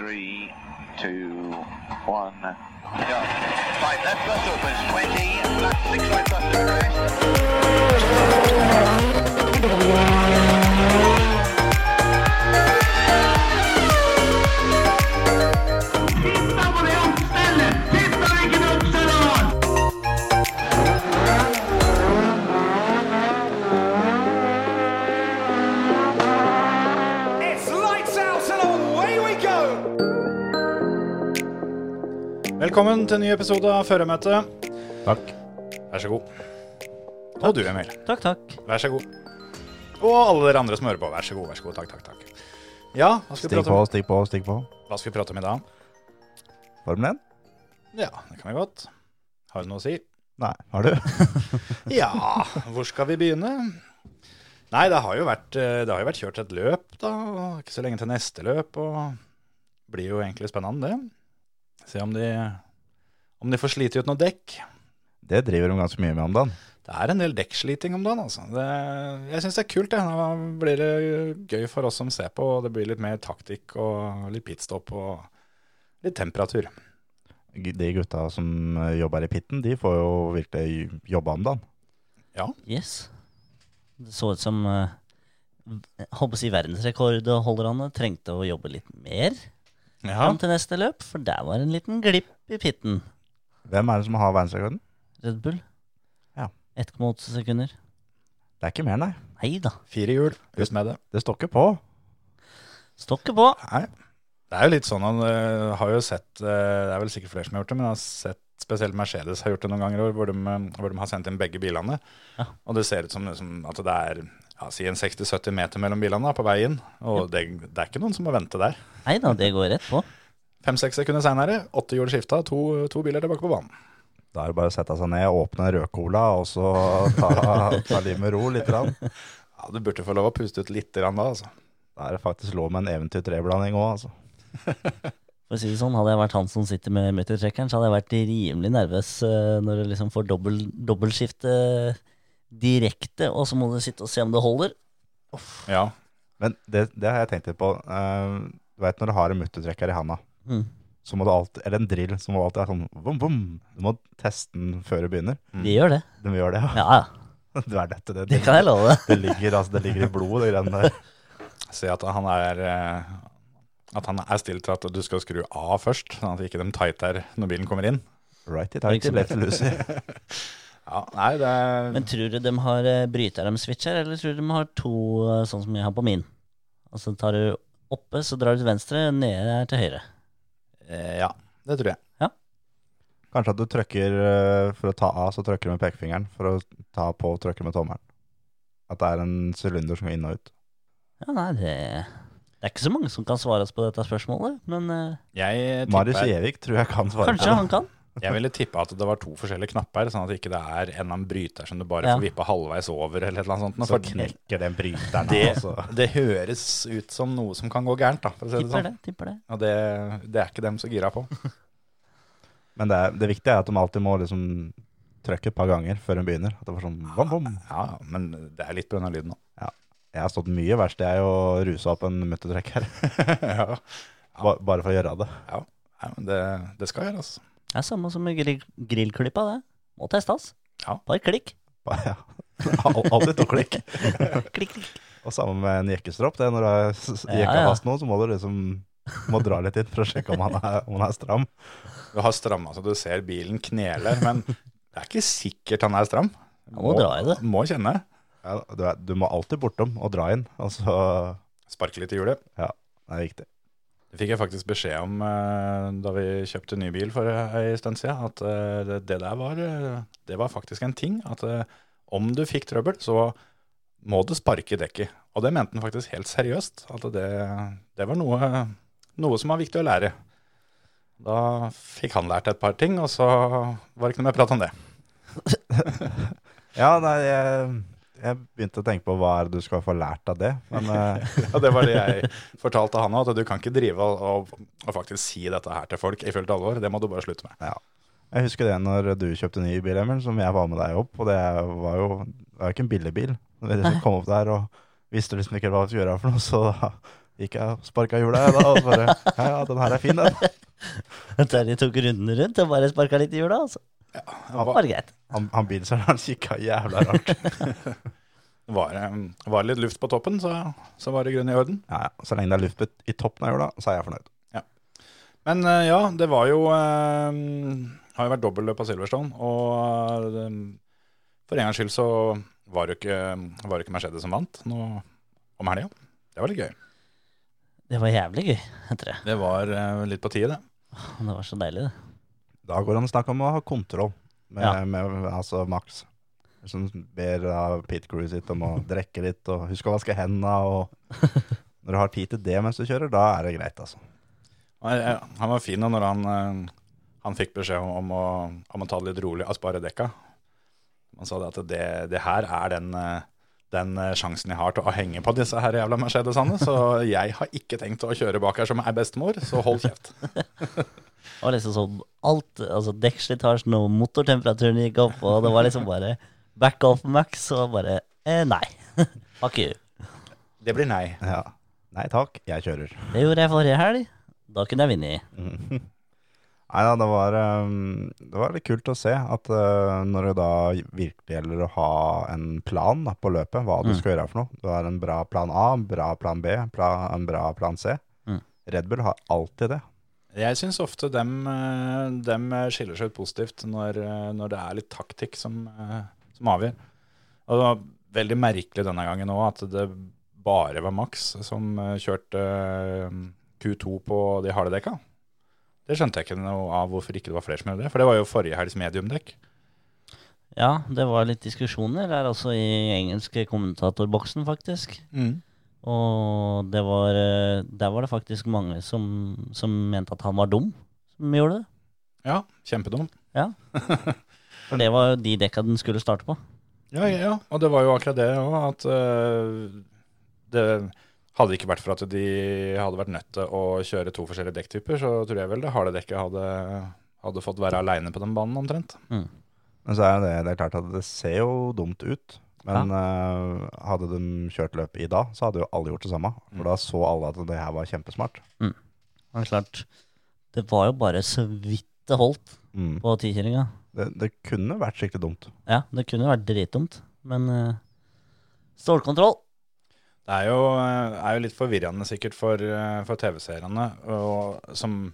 Three, two, one, go. Right, left bus opens 20, left six right bus to crest. It's lights out and away we go! Velkommen til en ny episode av Føremøtet. Takk. Vær så god. Og du, Emil. Takk, takk. Vær så god. Og alle dere andre som hører på. Vær så god, vær så god. Takk, takk, takk. Ja, hva skal, vi Stikk prate på, om, stikk på, stikk på. hva skal vi prate om i dag? Formel 1? Ja, det kan vi godt. Har du noe å si? Nei, har du? Ja, hvor skal vi begynne? Nei, det har jo vært, eh, det har jo vært kjørt et løp, da. og Ikke så lenge til neste løp. Og det blir jo egentlig spennende, det. Se om de, om de får slite ut noe dekk. Det driver de ganske mye med om dagen. Det er en del dekksliting om dagen, altså. Det, jeg syns det er kult. det. Da blir det gøy for oss som ser på. og Det blir litt mer taktikk og litt pitstop og litt temperatur. G- De gutta som eh, jobber i pitten, de får jo virkelig jobbe om dagen. Yes. Det så ut som eh, jeg håper å si verdensrekordholderne trengte å jobbe litt mer Ja. fram til neste løp, for der var en liten glipp i pitten. Hvem er det som har verdensrekorden? Red Bull. Ja. 1,8 sekunder. Det er ikke mer, nei. Hei da. Fire hjul, ut med det. Det står ikke på. Stokket på. Nei. Det er jo litt sånn han eh, har jo sett eh, Det er vel sikkert flere som har gjort det, men jeg har sett spesielt Mercedes har gjort det noen ganger hvor- hvor de, eh, hvor de har sendt inn begge bilene. Ja. Og det ser ut som liksom, at det er ja, si en 60-70 meter mellom bilene da, på vei inn. Og det, det er ikke noen som må vente der. Hei da, det går rett på. Fem-seks sekunder seinere, åtte hjul skifta, to, to biler tilbake på banen. Da er det bare å sette seg ned, åpne rødcola og så ta, ta livet med ro litt. Grann. Ja, Du burde få lov å puste ut litt grann da, altså. Da er det faktisk lov med en eventyrtreblanding òg, altså. For å si det sånn, Hadde jeg vært han som sitter med muttertrekkeren, så hadde jeg vært rimelig nervøs eh, når du liksom får dobbel, dobbeltskifte direkte, og så må du sitte og se om det holder. Ja. Men det, det har jeg tenkt litt på. Eh, Du vet når du har en muttertrekker i handa, Mm. så må du alltid, eller en drill, så må du alltid ha sånn bom, bom. Du må teste den før du begynner. De gjør det. Du må gjøre det, ja. Ja, ja. Du er dette, det. Det kan jeg love deg. Det ligger, altså, det ligger i blodet, det greiene der. Si at han er eh, At han er stilt til at du skal skru av først, sånn at ikke de tighter når bilen kommer inn. Righty tighty, lefty loosey. Ja, nei, det er... Men tror du de har eh, bryter de switcher, eller tror du de har to eh, sånn som jeg har på min? Altså tar du oppe, så drar du til venstre, nede er til høyre. Eh, Ja, det tror jeg. Kanskje at du trykker eh, for å ta av, så trykker du med pekefingeren. For å ta på, trykker du med tommelen. At det er en sylinder som går inn og ut. Ja, nei, det, det er ikke så mange som kan svare oss på dette spørsmålet, men eh, Jeg, Marius tipper, Gjevik tror jeg kan svare kanskje han kan. jeg ville tippa at det var to forskjellige knapper, sånn at ikke det er en av en bryter som du bare Ja. får vippa halvveis over, eller et eller annet sånt. Så For knekker den bryteren. det, altså. det høres ut som noe som kan gå gærent, da, for å si det Tipper sånn. det. tipper det. Og det, det er ikke dem så gira på. Men det, er- det viktige er at de alltid må liksom trykke et par ganger før de begynner. At det var sånn bom, bom. Ja, men det er litt pga. lyden òg. Jeg har stått mye verst. Jeg er jo rusa opp en muttertrekker. ja. Ba, bare for å gjøre det. Nei, men det, det skal gjøres. Det er samme som med grill, grillklippa, det. Må testes. Ja. Bare klikk. Bare, ja. Al- Alltid to klikk. Klikk, klikk. Og sammen med en jekkestropp, det når du har s- s- Ja, jekka ja. fast noen, så må du liksom må dra litt inn for å sjekke om han er, om han er stram. Du har stramma så du ser bilen kneler, men det er ikke sikkert han er stram. Ja, må dra i det. Må kjenne. Ja, du, er, du må alltid bortom og dra inn, Altså, og så Sparke litt i hjulet. Det er viktig. Det fikk jeg faktisk beskjed om eh, da vi kjøpte ny bil for ei stund siden, at eh, det- det der var, eh, det var faktisk en ting. At eh, om du fikk trøbbel, så må du sparke dekket. Og det mente han faktisk helt seriøst. At det, det var noe, noe som var viktig å lære. Da fikk han lært et par ting, og så var det ikke noe mer prat om det. Ja, nei, jeg, jeg begynte å tenke på hva er det du skal få lært av det. Men eh, Og det var det jeg fortalte han òg, at du kan ikke drive og, og, og faktisk si dette her til folk i fullt alvor. Det må du bare slutte med. jeg husker det når du kjøpte ny bil, Emil, som jeg var med deg opp. Og det var jo, det var jo ikke en billig bil. Når dere kom opp der og visste liksom ikke hva vi skulle gjøre for noe, så da Gikk jeg og sparka hjulet, jeg da, og så bare Ja, ja, den her er fin, den. Terje tok rundene rundt og bare sparka litt i hjula, altså. Det var, Bare greit. Han, han bilselgeren kikka jævla rart. var, det- var det litt luft på toppen, så, så var det grunn i orden. Ja, ja. Så lenge det er luft i toppen av hjula, så er jeg fornøyd. Men eh, ja, det var jo eh, Har jo vært dobbeltløp på Silverstone, og eh, for en gangs skyld så var det jo ikke, var det ikke Mercedes som vant nå om helga. Det var litt gøy. Det var jævlig gøy, tror jeg. Det var eh, litt på tide, det. Det var så deilig, det. Da går det an å snakke om å ha kontroll med, Ja. med altså Max. Som ber av pit crew sitt om å drikke litt, og husk å vaske hendene, og Når du har tid til det mens du kjører, da er det greit, altså. Nei, ja, Han var fin da når han, eh, han fikk beskjed om, om, å, om å ta det litt rolig og spare dekka. Han sa det at det, det her er den, eh, den eh, sjansen jeg har til å henge på disse her jævla Mercedesene, så jeg har ikke tenkt å kjøre bak her som ei bestemor, så hold kjeft. Det var liksom sånn alt altså Dekkslitasjen og motortemperaturen gikk opp, og det var liksom bare back off max, og bare eh, Nei. Fuck you. Det blir nei. Ja. Nei takk, jeg kjører. Det gjorde jeg forrige helg. Da kunne jeg vunnet. Mhm. Nei da, det var, ehm, det var litt kult å se at eh, når det da virkelig gjelder å ha en plan da, på løpet, hva Mm. du skal gjøre for noe Du har en bra plan A, en bra plan B, pla- en bra plan C. Mm. Red Bull har alltid det. Jeg syns ofte dem, eh, dem skiller seg ut positivt når, eh, når det er litt taktikk som, eh, som avgjør. Og det var veldig merkelig denne gangen òg at det bare var Max som eh, kjørte eh, Q2 på de harde dekka. Det skjønte jeg ikke noe av hvorfor ikke det var flere som gjorde det, for det var jo forrige helgs mediumdekk. Ja, det var litt diskusjoner der også i engelske kommentatorboksen, faktisk. Og det var, eh, der var det faktisk mange som, som mente at han var dum, som gjorde det. Ja, kjempedum. For det var jo de dekka den skulle starte på. Ja, ja, ja, og det var jo akkurat det òg, at eh, det hadde ikke vært for at de hadde vært nødt til å kjøre to forskjellige dekktyper, så tror jeg vel det harde dekket hadde, hadde fått være aleine på den banen omtrent. Men så er det, det er klart at det ser jo dumt ut. Men eh, hadde de kjørt løpet i dag, så hadde jo alle gjort det samme. For da så alle at det her var kjempesmart. Men klart, det var jo bare så vidt det holdt Mm. på tikjøringa. Det, det kunne vært skikkelig dumt. Ja, det kunne vært dritdumt, men eh, stålkontroll. Det er jo, eh, er jo litt forvirrende sikkert for, eh, for TV-seerne og- som,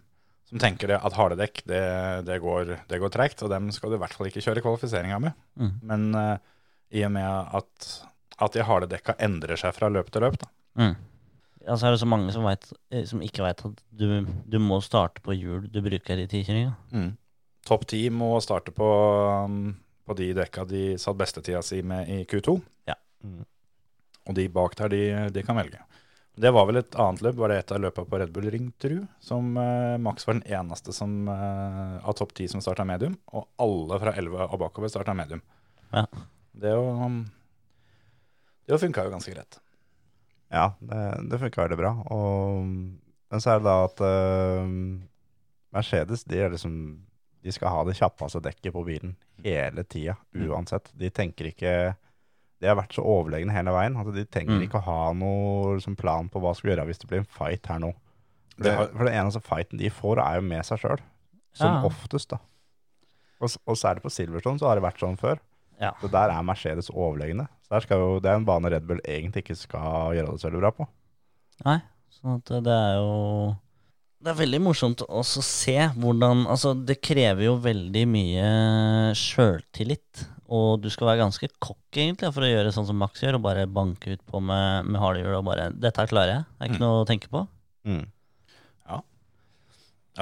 som tenker det at harde dekk det, det går, det går tregt, og dem skal du i hvert fall ikke kjøre kvalifiseringa med. Mm. Men eh, i og med at, at de harde dekka endrer seg fra løp til løp, da. Ja, så er det så mange som, vet, eh, som ikke veit at du, du må starte på hjul du bruker i tikjøringa. Topp 10 må starte på, um, på de dekka de satt bestetida si med i Q2. Ja. Mhm. Og de bak der, de, de kan velge. Det var vel et annet løp, var det et av løpa på Red Bull Ring, tru, som eh, Max var den eneste som, eh, av topp 10 som starta medium, og alle fra 11 og bakover starta medium. Ja. Det jo um, Det jo funka jo ganske greit. Ja, det, det funka veldig bra. Og, men så er det da at eh, Mercedes de, er liksom, de skal ha det kjappeste dekket på bilen hele tida, uansett. De tenker ikke De har vært så overlegne hele veien at de trenger Mm. ikke å ha noe liksom, plan på hva de skal gjøre hvis det blir en fight her nå. For Det det, har- for det eneste fighten de får, er jo med seg sjøl. Som Ja. oftest, da. Og, s- og særlig på Silverstone så har det vært sånn før. Ja. Så der er Mercedes overlegne. Så der skal jo, Det er en bane Red Bull egentlig ikke skal gjøre det så veldig bra på. Nei, sånn at det er jo Det er veldig morsomt også å se hvordan Altså, det krever jo veldig mye eh, sjøltillit. Og du skal være ganske kokk, egentlig, for å gjøre sånn som Max gjør, og bare banke ut på med, med harde hjul og bare 'Dette her klarer jeg. Det er ikke noe å tenke på'. Ja,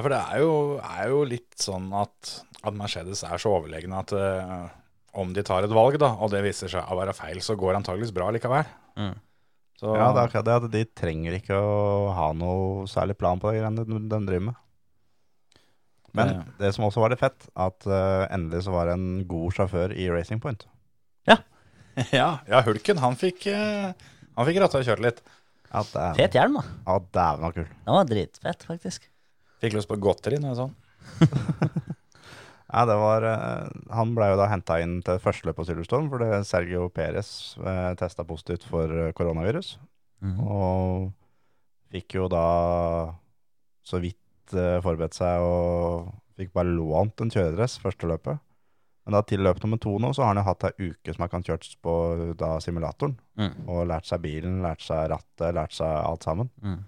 for det er jo, er jo litt sånn at, at Mercedes er så overlegne at eh, om de tar et valg, da, og det viser seg å være feil, så går det antageligvis bra likevel. Mm. Så, Ja, det er akkurat det. At de trenger ikke å ha noe særlig plan på de greiene de de driver med. Men Ja, ja. det som også var litt fett, at eh, endelig så var det en god sjåfør i Racing Point. ja, ja, Hulken, han fikk, eh, han fikk ratta og kjørt litt. Ja, dæven. Fet hjelm, da. Ja, eh, dæven var kul. Den var dritfett, faktisk. Fikk lyst på godteri når jeg så han. Ja, det var, eh, han ble jo da henta inn til første løp på Silverstone, for det Sergio Perez eh, testa positivt for eh, koronavirus. Mhm. Og Fikk jo da så vidt eh, forberedt seg og fikk bare lånt en kjøredress første løpet. Men da til løp nummer to nå, så har han jo hatt ei uke som han kan kjørt på da simulatoren. Mm. Og lært seg bilen, lært seg rattet, lært seg alt sammen. Mm.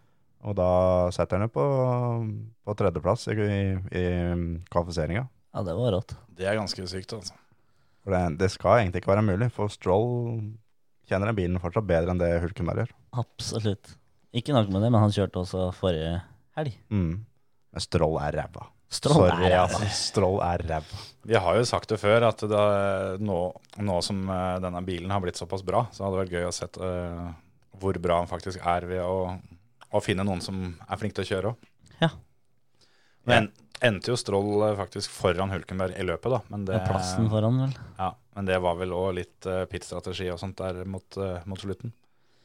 Og da setter han jo på, på tredjeplass i, i, i kvalifiseringa. Ja, det var rått. Det er ganske sykt, altså. For det, det skal egentlig ikke være mulig, for Stroll kjenner den bilen fortsatt bedre enn det Hulkenberg gjør. Absolutt. Ikke nok med det, men han kjørte også forrige helg. Mm. Men Stroll er ræva. Stroll Sorry, er ræva. altså. Stroll er ræva. Vi har jo sagt det før, at da, nå, nå som eh, denne bilen har blitt såpass bra, så hadde det vært gøy å se hvor bra han faktisk er ved å, å finne noen som er flink til å kjøre òg. Ja. Men endte jo Stroll eh, faktisk foran Hulkenberg i løpet, da. Men det, Med plassen foran, vel. ja, men det var vel òg litt eh, pitstrategi og sånt der mot, eh, mot slutten.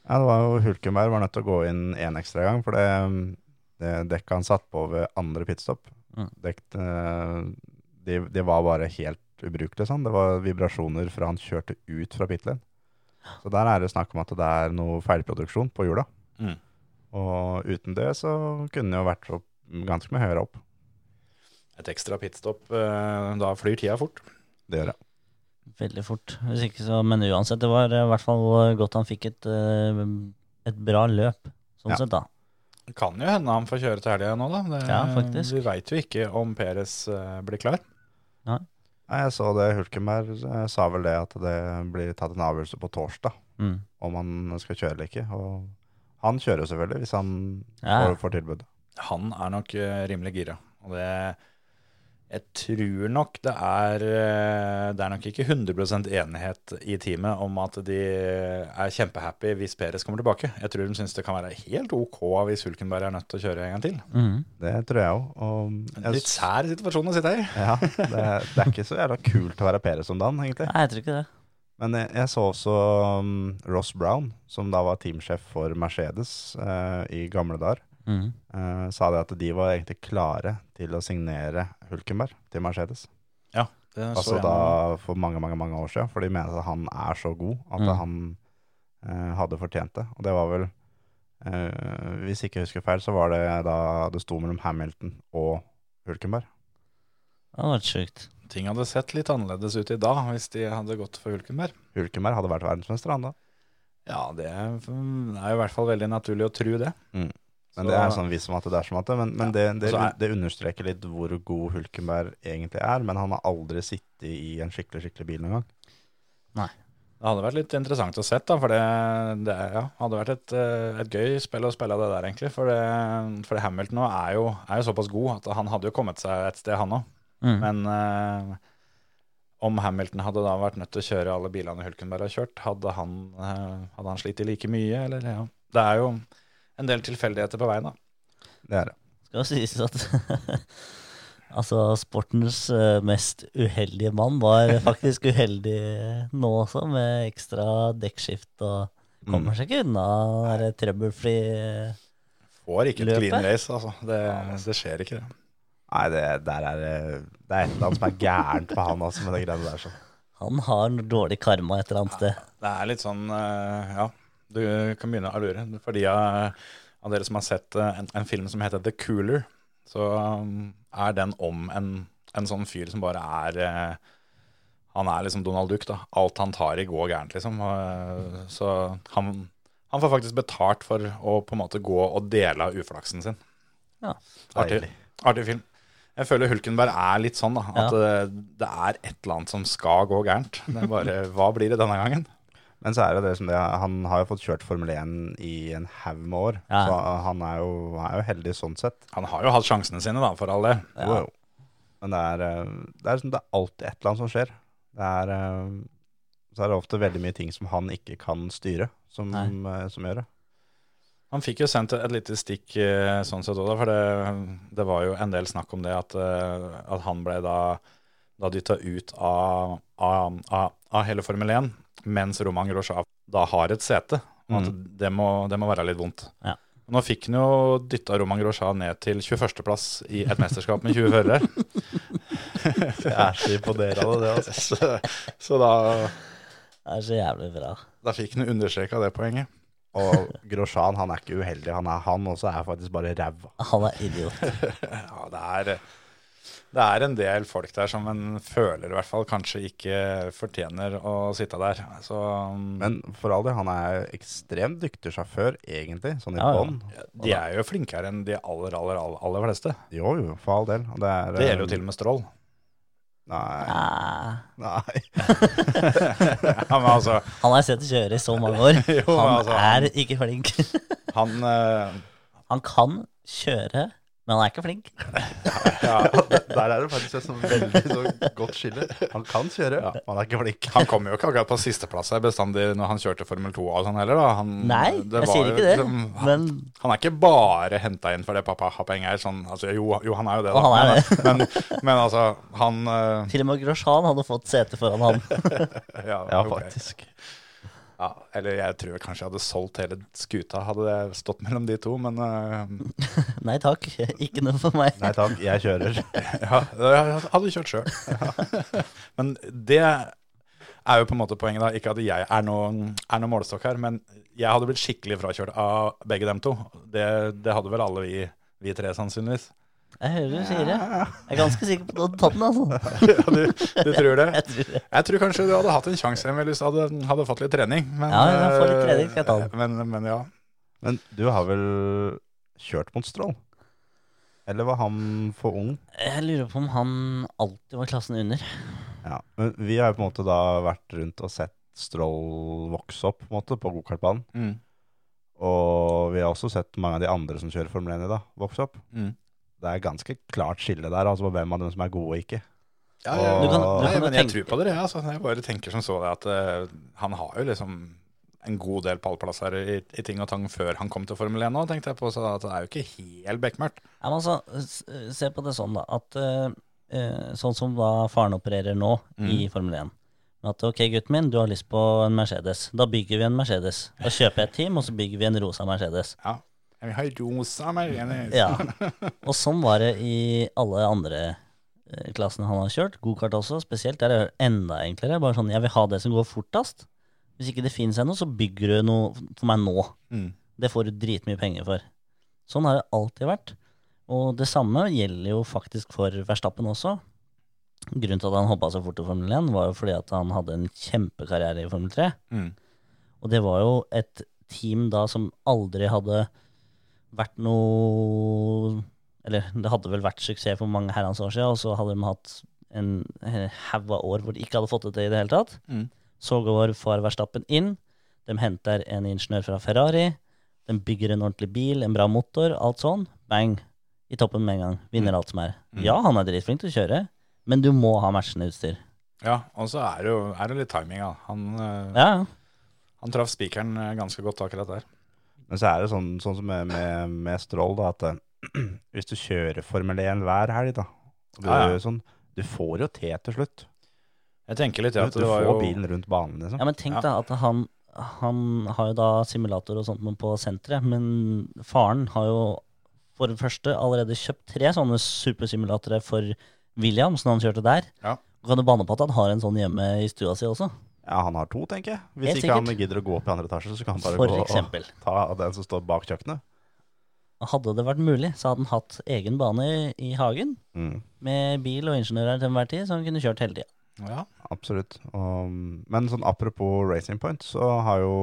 Ja, det var jo Hulkenberg var nødt til å gå inn en ekstra gang, for det, det dekket han satt på ved andre pitstop, Mm. dekket, eh, de, de var bare helt ubrukelige. Sånn. Det var vibrasjoner fra han kjørte ut fra pitlane. Så der er det snakk om at det er noe feilproduksjon på hjula. Mm. Og uten det så kunne det jo vært opp, ganske mye høyere opp. Et ekstra pitstop, eh, da flyr tida fort. Det gjør jeg. Veldig fort. Hvis ikke så, men uansett, det var eh, i hvert fall godt han fikk et, eh, et bra løp. Sånn Ja. sett, da. Det kan jo hende han får kjøre til helga nå, da. Det, Ja, faktisk. Vi veit jo ikke om Peres eh, blir klar. Nei, jeg så det Hulkenberg eh, sa vel det at det blir tatt en avgjørelse på torsdag Mm. om han skal kjøre eller ikke. Og han kjører jo selvfølgelig hvis han Ja. får, får tilbud. Han er nok eh, rimelig gira. Og det Jeg tror nok det er eh, Det er nok ikke 100 enighet i teamet om at de er kjempehappy hvis Peres kommer tilbake. Jeg tror de syns det kan være helt OK hvis Hulkenberg er nødt til å kjøre en gang til. Mm. Det tror jeg òg. En litt sær situasjon å sitte i. Ja, det, det er ikke så jævla kult å være Peres om dagen, egentlig. Nei, jeg tror ikke det. Men jeg, jeg så også um, Ross Brown, som da var teamsjef for Mercedes eh, i gamle dager, Mm. eh, sa det at de var egentlig klare til å signere Hulkenberg til Mercedes. Det så Altså jeg nå. da for mange, mange mange år siden, for de mener at han er så god at Mm. han eh, hadde fortjent det. Og det var vel, eh, hvis ikke jeg husker feil, så var det da det sto mellom Hamilton og Hulkenberg. Det hadde vært sjukt. Ting hadde sett litt annerledes ut i dag hvis de hadde gått for Hulkenberg. Hulkenberg hadde vært verdensmester, han da. Ja, det er er i hvert fall veldig naturlig å tro det. Mm. Men Så- det er sånn vi som at det er som at det, men, men det, det, Og så er- det understreker litt hvor god Hulkenberg egentlig er, men han har aldri sittet i en skikkelig, skikkelig bil noen gang. Det hadde vært litt interessant å sett, da, for det, det er- ja, hadde vært et, eh, et gøy spill å spille av det der, egentlig. For, det, for det Hamilton nå er jo, er jo såpass god at han hadde jo kommet seg et sted, han òg. Mm. Men eh, om Hamilton hadde da vært nødt til å kjøre alle bilene Hulkenberg har kjørt, hadde han, eh, hadde han slitt like mye, eller? Ja. Det er jo en del tilfeldigheter på veien, da. Det er det. Skal sies at Altså, sportens eh, mest uheldige mann var faktisk uheldig nå også, med ekstra dekkskift og Mm. Kommer seg ikke unna det der trøbbelfri eh, Får ikke et Løpet? clean race, altså. Det, det skjer ikke, det. Nei, det, der er, det- det er et eller annet som er gærent på han altså, med de greiene der. sånn. Han har noe dårlig karma et eller annet sted. Det er litt sånn, eh, ja, du kan begynne å lure. For de av, av dere som har sett eh, en, en film som heter The Cooler, så um, er den om en, en sånn fyr som bare er eh, Han er liksom Donald Duck, da. Alt han tar i, går gærent, liksom. Og, eh, så han, han får faktisk betalt for å på en måte gå og dele av uflaksen sin. Ja. Artig, Deilig. artig film. Jeg føler Hulkenberg er litt sånn, da. At eh, det er et eller annet som skal gå gærent. Det er bare Hva blir det denne gangen? Men så er det det som det, han har jo fått kjørt Formel 1 i en haug med år, Ja. så han er, jo, han er jo heldig sånn sett. Han har jo hatt sjansene sine, da, for all del. Jo, jo. Men det er, eh, det er, liksom, det er alltid et eller annet som skjer. Det er, eh, så er det ofte veldig mye ting som han ikke kan styre, som, eh, som gjør det. Han fikk jo sendt et lite stikk eh, sånn sett òg, for det, det var jo en del snakk om det at, eh, at han ble da, da dytta ut av, av, av, av hele Formel 1, mens Roman Grosjev da har et sete. Og at det, må, det må være litt vondt. Ja. Nå fikk han jo dytta Roman Grosjev ned til 21.-plass i et mesterskap med 20 førere. Jeg er så imponert av det, altså. så så da, Det er så jævlig bra. da fikk han understreka det poenget. Og Grosjan han er ikke uheldig, han er han også er faktisk bare ræva. Han er idiot. Ja, det er, det er en del folk der som en føler i hvert fall kanskje ikke fortjener å sitte der. Så um, Men for all del, han er ekstremt dyktig sjåfør, egentlig, sånn i Ja, ja. bånn. eh, de er jo flinkere enn de aller, aller, aller, aller fleste. Jo jo, for all del. og Det, er, Det gjelder jo til og med Strål. Nei. Ah, nei. Ja, men altså, Han har jeg sett kjøre i så mange år. Jo, men Han altså, han- er ikke flink. han eh, Han kan kjøre, men han er ikke flink. Ja, det- der er det faktisk et sånn veldig så godt skille. Han kan kjøre, men han er ikke flink. Han kom jo ikke akkurat på sisteplass her bestandig når han kjørte Formel 2 og sånn heller, da. Han, Nei, det jeg var sier jo ikke det, liksom- han, men han er ikke bare henta inn for det pappa har penger. Sånn, altså, jo, jo, han er jo det, da. Og han er det. Men, men altså, han eh, til og med Grosjean hadde fått sete foran han. Ja, Ja, ok. faktisk. Ja, eller jeg tror jeg kanskje jeg hadde solgt hele skuta hadde det stått mellom de to, men eh, Nei takk, ikke noe for meg. Nei takk, jeg kjører. ja, jeg hadde kjørt sjøl. Men det er jo på en måte poenget, da. Ikke at jeg er noen, er noen målestokk her, men jeg hadde blitt skikkelig frakjørt av begge dem to. Det, det hadde vel alle vi, vi tre, sannsynligvis. Jeg hører du sier det. Jeg er ganske sikker på at du hadde tatt den, altså. Ja, du, du tror det? Jeg tror det. Jeg tror kanskje du hadde hatt en sjanse Emil, hvis du hadde, hadde fått litt trening. Men, Ja, ja, få litt trening, skal jeg ta eh, den. Men, men ja. Men du har vel kjørt mot Strål? Eller var han for ung? Jeg lurer på om han alltid var klassen under. Ja, men vi har jo på en måte da vært rundt og sett Strål vokse opp på, en måte, på gokartbanen. Mm, Og vi har også sett mange av de andre som kjører Formel 1 i dag, vokse opp. mm. Det er ganske klart skille der, altså på hvem av dem som er gode og ikke. Ja, ja. Du kan- du Nei, kan jo men jeg tenke- tror på dere, jeg. Altså. Jeg bare tenker som så det at eh, han har jo liksom en god del pallplasser i, i ting og tang før han kom til Formel 1 nå, tenkte jeg på. Så at det er jo ikke helt bekmørkt. Ja, men altså, s- se på det sånn, da. At eh, eh, sånn som da faren opererer nå i Formel 1 med At ok, gutten min, du har lyst på en Mercedes. Da bygger vi en Mercedes. Da kjøper jeg et team, og så bygger vi en rosa Mercedes. Ja. Jeg vil ha rosa Mercedes. Ja. Og sånn var det i alle andre eh, klassene han har kjørt. Gokart også, spesielt. Der er det enda enklere. Bare sånn, jeg vil ha det som går fortest. Hvis ikke det finnes ennå, så bygger du noe for meg nå. Mm. Det får du dritmye penger for. Sånn har det alltid vært. Og det samme gjelder jo faktisk for Verstappen også. Grunnen til at han hoppa så fort til Formel 1, var jo fordi at han hadde en kjempekarriere i Formel 3. Mm. Og det var jo et team da som aldri hadde vært noe Eller det hadde vel vært suksess for mange herrens år siden, og så hadde de hatt en haug av år hvor de ikke hadde fått det til i det hele tatt. Mm. Så går far Verstappen inn. De henter en ingeniør fra Ferrari. De bygger en ordentlig bil, en bra motor, alt sånn. Bang. I toppen med en gang. Vinner alt som er. Ja, han er dritflink til å kjøre, men du må ha matchende utstyr. ja, og så er det jo er det litt timing, da. Han, eh, Ja, ja. han traff spikeren eh, ganske godt akkurat der. Men så er det sånn, sånn som med, med, med Strål, da, at eh, hvis du kjører Formel 1 hver helg, da og du, Ja, ja. Sånn, du får jo te til slutt. Jeg tenker litt Du, ja, at du det var får jo bilen rundt banen, liksom. Ja, men tenk Ja. da at han, han har jo da simulator og sånt noe på senteret, men faren har jo for det første allerede kjøpt tre sånne supersimulatorer for Williams når han kjørte der. Ja. Kan du banne på at han har en sånn hjemme i stua si også? Ja, han har to, tenker jeg. Hvis Helt ikke han gidder å gå opp i andre etasje, så kan han bare For gå eksempel. og ta den som står bak kjøkkenet. Hadde det vært mulig, så hadde han hatt egen bane i, i hagen, Mm. med bil og ingeniører til enhver tid, så han kunne kjørt hele tida. ja. Absolutt. Um, men sånn apropos Racing Point, så har jo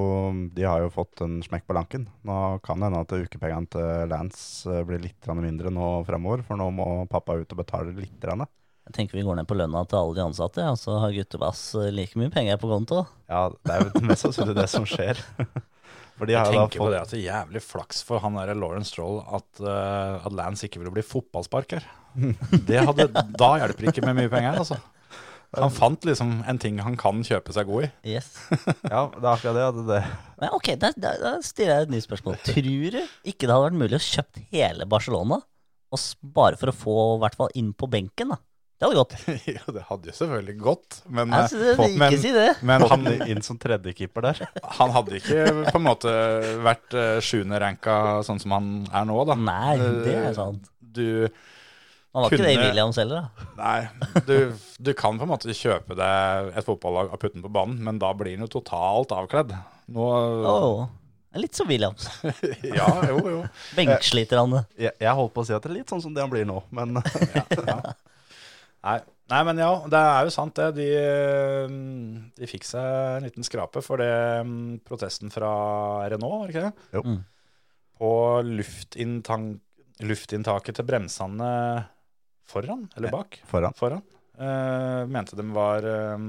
de har jo fått en smekk på lanken. Nå kan det hende at ukepengene til Lance eh, blir litt grann mindre nå framover, for nå må pappa ut og betale litt. Grann. Jeg tenker vi går ned på lønna til alle de ansatte, og så har guttebass eh, like mye penger på konto. Ja, det er jo mest sannsynlig det som skjer. For de Jeg har jo da tenker på fått det at det er jævlig flaks for han der Lawrence Stroll at, eh, at Lance ikke ville bli fotballsparker. Det hadde, da hjelper det ikke med mye penger, altså. Han fant liksom en ting han kan kjøpe seg god i. Yes. Ja, det er akkurat det. at det, Men ok, da, da, da stiller jeg et nytt spørsmål. Tror du ikke det hadde vært mulig å kjøpt hele Barcelona, og s- bare for å få i hvert fall inn på benken? da? Det hadde gått. Jo, det hadde jo selvfølgelig gått, men, eh, Jeg synes det, men, ikke si det. men han, Han inn som tredjekeeper der. han hadde ikke på en måte vært eh, sjuende ranka sånn som han er nå, da. Nei, det er Eh, sant. Du Han var ikke det i kunne- Williams heller, da. Nei, du, du kan på en måte kjøpe deg et fotballag og putte den på banen, men da blir den jo totalt avkledd. Nå Åh, Det er litt som Williams. ja, jo, jo. Benksliter han det. Jeg, jeg holdt på å si at det er litt sånn som det han blir nå, men Nei. Nei, men ja, det er jo sant det. De, eh, de fikk seg en liten skrape for det mm, protesten fra Renault, var det ikke det? Jo. Mm. På luftinntank, luftinntaket til bremsene foran, eller bak, foran. foran, eh, mente de var eh,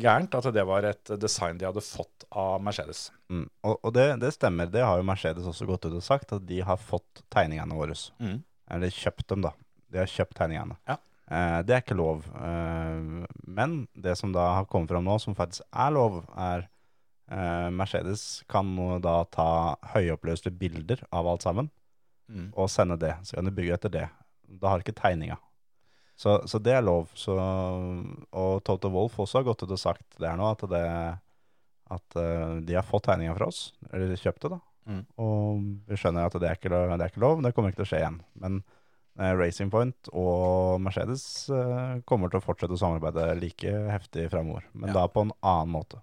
gærent, at det var et design de hadde fått av Mercedes. Mm. Og, og det, det stemmer, det har jo Mercedes også gått ut og sagt, at de har fått tegningene våre. Mm. Eller kjøpt dem, da. De har kjøpt tegningene. Ja. Eh, det er ikke lov. Eh, men det som da har kommet fram nå, som faktisk er lov, er eh, Mercedes kan nå da ta høyoppløste bilder av alt sammen Mm. og sende det. Så kan du bygge etter det. Da har du ikke tegninga. Så, så det er lov. Så, og Toto Wolff også har gått ut og sagt det her nå, at, det, at eh, de har fått tegninga fra oss, eller de kjøpte da. Mm. Og vi skjønner at det er, ikke lov, det er ikke lov, det kommer ikke til å skje igjen. Men eh, Racing Point og Mercedes eh, kommer til å fortsette å samarbeide like heftig fremover, men Ja. da på en annen måte.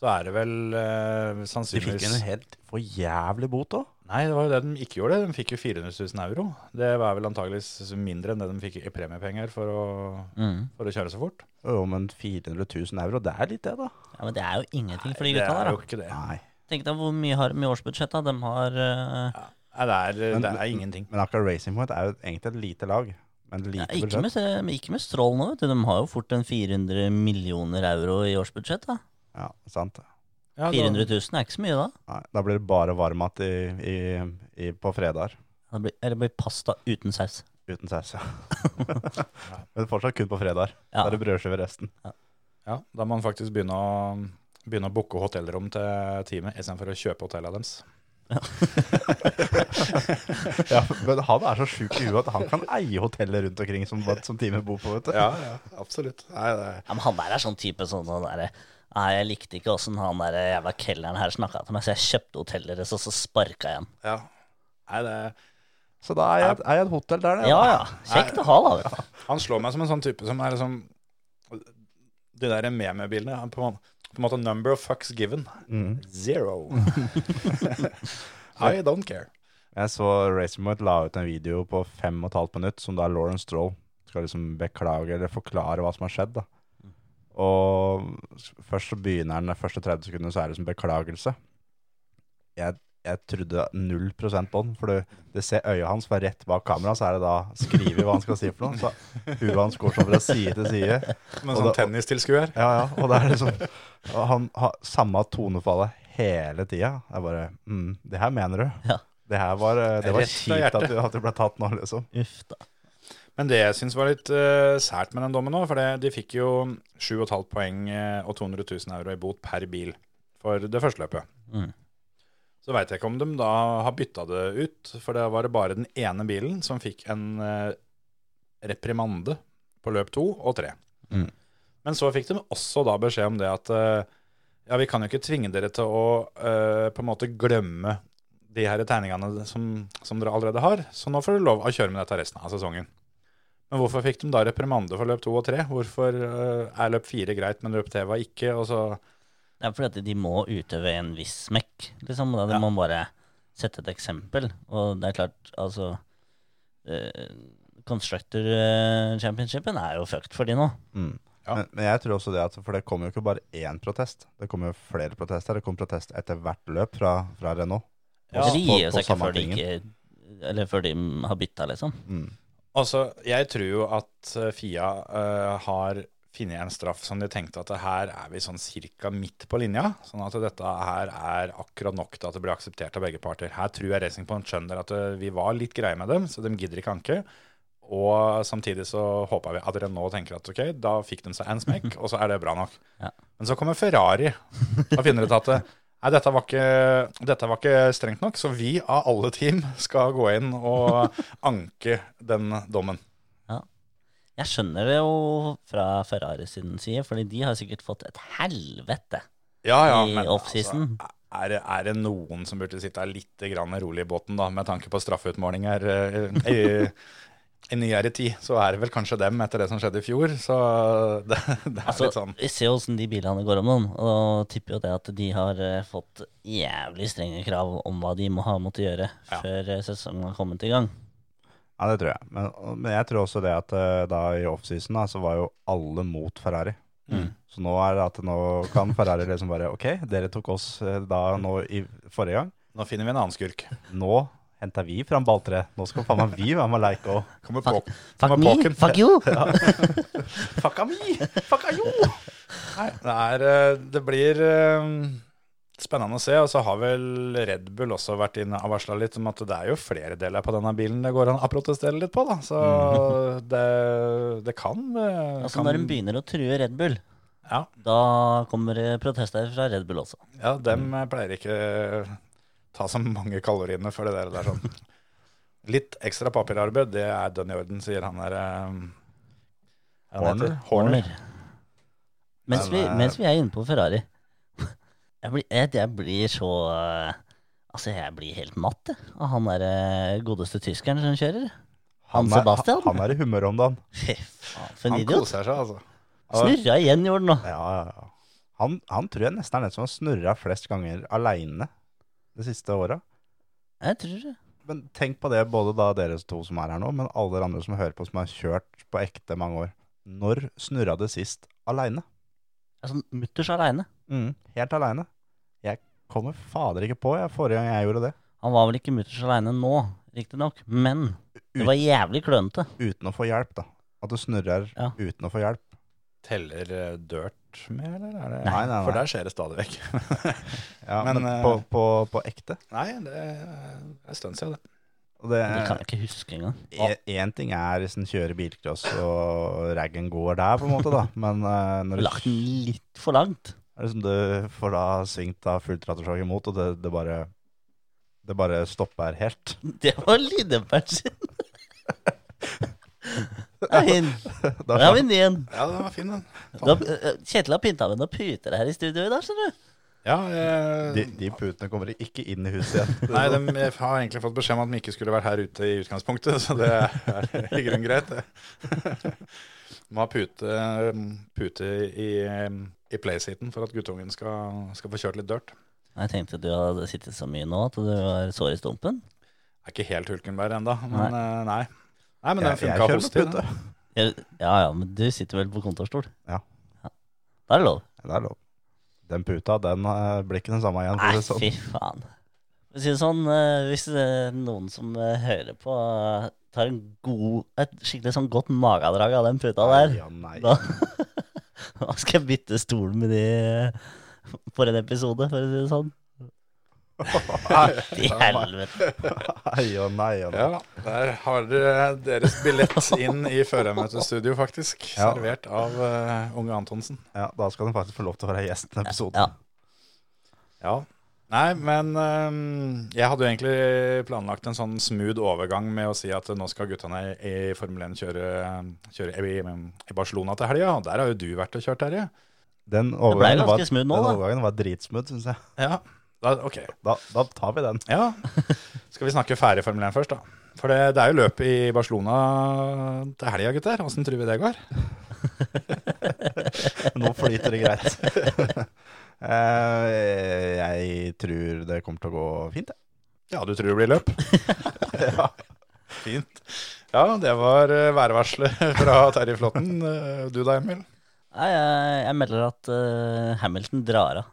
Så er det vel eh, De fikk en sannsynligvis helt for jævlig bot òg. Nei, det var jo det de ikke gjorde. De fikk jo 400 000 euro. Det var vel antageligvis mindre enn det de fikk i premiepenger for å, Mm. for å kjøre så fort. Jo, men 400 000 euro, det er litt det, da. Ja, men det er jo ingenting for de det gutta er der. jo ikke det. Nei. da. Tenk deg hvor mye har de i årsbudsjett, da. De har eh, Nei, det er, Men- det er ingenting. Men akkurat Racing Point er jo egentlig et lite lag. Men ja, lite ikke, budsjett. med, men ikke med strål nå, vet du. De har jo fort en 400 millioner euro i årsbudsjett, da. Ja, sant. Ja, da- 400 000 er ikke så mye, da. Nei, da blir det bare varmmat i, i, i, på fredager. Det blir, eller det blir pasta uten saus. Uten saus, ja. Men fortsatt kun på fredager. Ja. Da er det brødskive resten. ja, da må man faktisk begynne å, begynne å booke hotellrom til teamet istedenfor å kjøpe hotellene deres. Ja, men han er så sjuk i huet at han kan eie hoteller rundt omkring som, som teamet bor på, vet du. ja, absolutt. Nei, det er Ja, men han der er sånn type sånn sånn derre Nei, jeg likte ikke åssen han der jævla kelneren her snakka til meg, så jeg kjøpte hotellet deres, og så sparka jeg ham. ja. Nei, det er Så da er jeg, er jeg et hotell der, det. Ja ja, kjekt å ha, da. vet du. Han slår meg som en sånn type som er liksom De der meme-bildene er på, en- på en måte number of fucks given. Mm. Zero. I don't care. Jeg så Racermoot la ut en video på fem og et halvt minutt, som da Lauren Stroll skal liksom beklage eller forklare hva som har skjedd. da. Og s- først så begynner han de første 30 sekundene, så er det som beklagelse. Jeg, jeg trodde null prosent på den, for du, du ser øyet hans var rett bak kamera, så er det da skrivet hva han skal si for noe. Så huet hans går sånn fra side til side. Med Og sånn da- tennistilskuer. Ja, ja, og det er liksom og Han har samme tonefallet hele tida. Jeg bare mm, Det her mener du? Ja. Det her var, eh, det var Rett fra kjipt at hjertet. du, at du ble tatt nå, liksom. Uff da. Men det jeg syns var litt eh, sært med den dommen òg, for det, de fikk jo 7,5 poeng eh, og 200 000 euro i bot per bil for det første løpet. Mm. Så veit jeg ikke om de da har bytta det ut, for det var det bare den ene bilen som fikk en eh, reprimande på løp to og tre. Mm. Men så fikk de også da beskjed om det at eh, ja, vi kan jo ikke tvinge dere til å eh, på en måte glemme de her tegningene som, som dere allerede har, så nå får dere lov å kjøre med dette resten av sesongen. Men hvorfor fikk de da reprimande for løp to og tre? Hvorfor eh, er løp fire greit, men løp tre var ikke? Og så Det er fordi at de må utøve en viss smekk. Liksom. Da de må bare sette et eksempel. Og det er klart, altså eh, Constructor eh, Championshipen er jo fucked for de nå. Mm. Ja. Men, men jeg tror også det at For det kommer jo ikke bare én protest. Det kommer jo flere protester. Det kommer protest etter hvert løp fra, fra Renault. Ja, så de på- gir jo på seg ikke samme før de tingen. ikke Eller før de har bytta, liksom. Mm. Altså, jeg tror jo at eh, Fia eh, har funnet en straff som de tenkte at det her er vi sånn cirka midt på linja. Sånn at dette her er akkurat nok til at det blir akseptert av begge parter. Her tror jeg Racing Point skjønner at eh, vi var litt greie med dem, så de gidder ikke anke. Og samtidig så håper vi at dere nå tenker at ok, da fikk de seg en smekk, og så er det bra nok. Ja. Men så kommer Ferrari og finner ut at eh, Nei, dette var, ikke, dette var ikke strengt nok, så vi av alle team skal gå inn og anke den dommen. Jeg skjønner det jo fra Ferrari sin side, fordi de har sikkert fått et helvete. Ja, ja, I men offseason. altså, er, det- er det noen som burde sitte litt grann rolig i båten, da, med tanke på straffeutmålinger eh, i, I nyere tid så er det vel kanskje dem etter det som skjedde i fjor, så det, det er Altså, litt sånn Vi ser jo åssen de bilene går om noen, og tipper jo det at de har eh, fått jævlig strenge krav om hva de må ha måttet gjøre Ja. før eh, sesongen har kommet i gang. Ja, det tror jeg. Men, men jeg tror også det at eh, da i offseason da, så var jo alle mot Ferrari. Mm. Så nå er det at nå kan Ferrari liksom bare Ok, dere tok oss eh, da nå i forrige gang. Nå finner vi en annen skurk. Nå henter vi fram balltre. Nå skal faen meg vi være med og leke òg. Kommer på, Fuck, fuck kommer me! påken. Fuck you! Fucka mi! Fucka jo! Nei, det, er, eh, det blir eh, spennende å se. Og så har vel Red Bull også vært inne og varsla litt om at det er jo flere deler på denne bilen det går an å protestere litt på, da. Så det, det kan, eh, Altså, kan når de begynner å true Red Bull, Ja, da kommer det protester fra Red Bull også. ja dem eh, pleier ikke eh, ta så mange kaloriene for det der. Det er sånn. Litt ekstra papirarbeid, det er dønn i orden, sier han der eh, hva han Horner? heter? Horner. Mens Men, vi, eh, mens vi er inne på Ferrari Jeg blir, jeg, jeg blir så eh, Altså, jeg blir helt matt jeg, av han der eh, godeste tyskeren som kjører. Han er- Sebastian? Han er i humør om dagen. Fy faen, for en Han idiot. koser seg, altså. Snurra igjen, gjorde han nå. Ja, ja, ja. Han, han tror jeg nesten er den som har snurra flest ganger aleine det siste året. Jeg tror det. Men tenk på det, både da dere to som er her nå, men alle dere andre som hører på, som har kjørt på ekte mange år. Når snurra det sist aleine? Altså, Mutters aleine. Mm, helt aleine. Jeg kommer fader ikke på jeg, forrige gang jeg gjorde det. Han var vel ikke mutters aleine nå, riktignok, men det var jævlig klønete. Uten å få hjelp, da. At du snurrer Ja. uten å få hjelp. Teller eh, dirt med, eller? Er det? Nei, nei, nei. For der skjer det stadig vekk. Ja, Men, men eh, på, på, på ekte. Nei, det er en stund siden, det. Og det, Det kan jeg ikke huske engang. Én ting er hvis en kjører bilcross og raggen går der, på en måte, da. Men eh, når Lagt den litt for langt. er det som du får da svingt av fullt ratterslag imot, og det, det bare det bare stopper helt. Det var lydemperen sin. Det er hin. Da, Da er vi ned igjen. Ja, den var fin, den. Da, eh, Kjetil har pynta med noen puter her i studio i dag, skjønner du. Ja, eh, de, de putene kommer ikke inn i huset igjen. Nei, de jeg har egentlig fått beskjed om at de ikke skulle vært her ute i utgangspunktet, så det er i grunnen greit, det. Må ha pute, pute i, i playseaten for at guttungen skal, skal få kjørt litt dirt. Jeg tenkte du hadde sittet så mye nå at du var sår i stumpen. Er ikke helt Hulkenberg ennå, men nei. nei. Nei, men den Jeg- jeg funka kjører med hos til. den. pute. Ja ja, ja, men du sitter vel på kontorstol? Ja. Da er det lov. Det er lov. Den puta, den eh, blir ikke den samme igjen. Nei, For å si fy det sånn. faen. For å si det sånn, eh, hvis det er noen som eh, hører på, eh, tar en god, et skikkelig sånn godt magedrag av den puta der, Ja, nei. da, da skal jeg bytte stol med de eh, for en episode, for å si det sånn. I helvete. Nei og nei og nei. Ja, der har dere deres billett inn i førermøtestudio, faktisk. Ja. Servert av eh, unge Antonsen. Ja, da skal den faktisk få lov til å være gjest i den episoden. Ja. Ja. Nei, men øhm, jeg hadde jo egentlig planlagt en sånn smooth overgang med å si at nå skal guttene i i Formel 1 kjøre, kjøre i, i Barcelona til helga, og der har jo du vært og kjørt, Terje. Den overgangen, ganske var, smooth nå, den da. overgangen var dritsmooth, syns jeg. Ja. Da, ok. Da, da tar vi den. Ja. Skal vi snakke ferdig Formel 1 først, da? For det, det er jo løp i Barcelona til helga, gutter. Åssen tror vi det går? Nå flyter det greit. Eh, jeg tror det kommer til å gå fint, jeg. Ja, du tror det blir løp? ja. Fint. Ja, det var eh, værvarselet fra Terje Flåtten. Eh, Du da, Emil? Nei, jeg, jeg melder at eh, Hamilton drar av.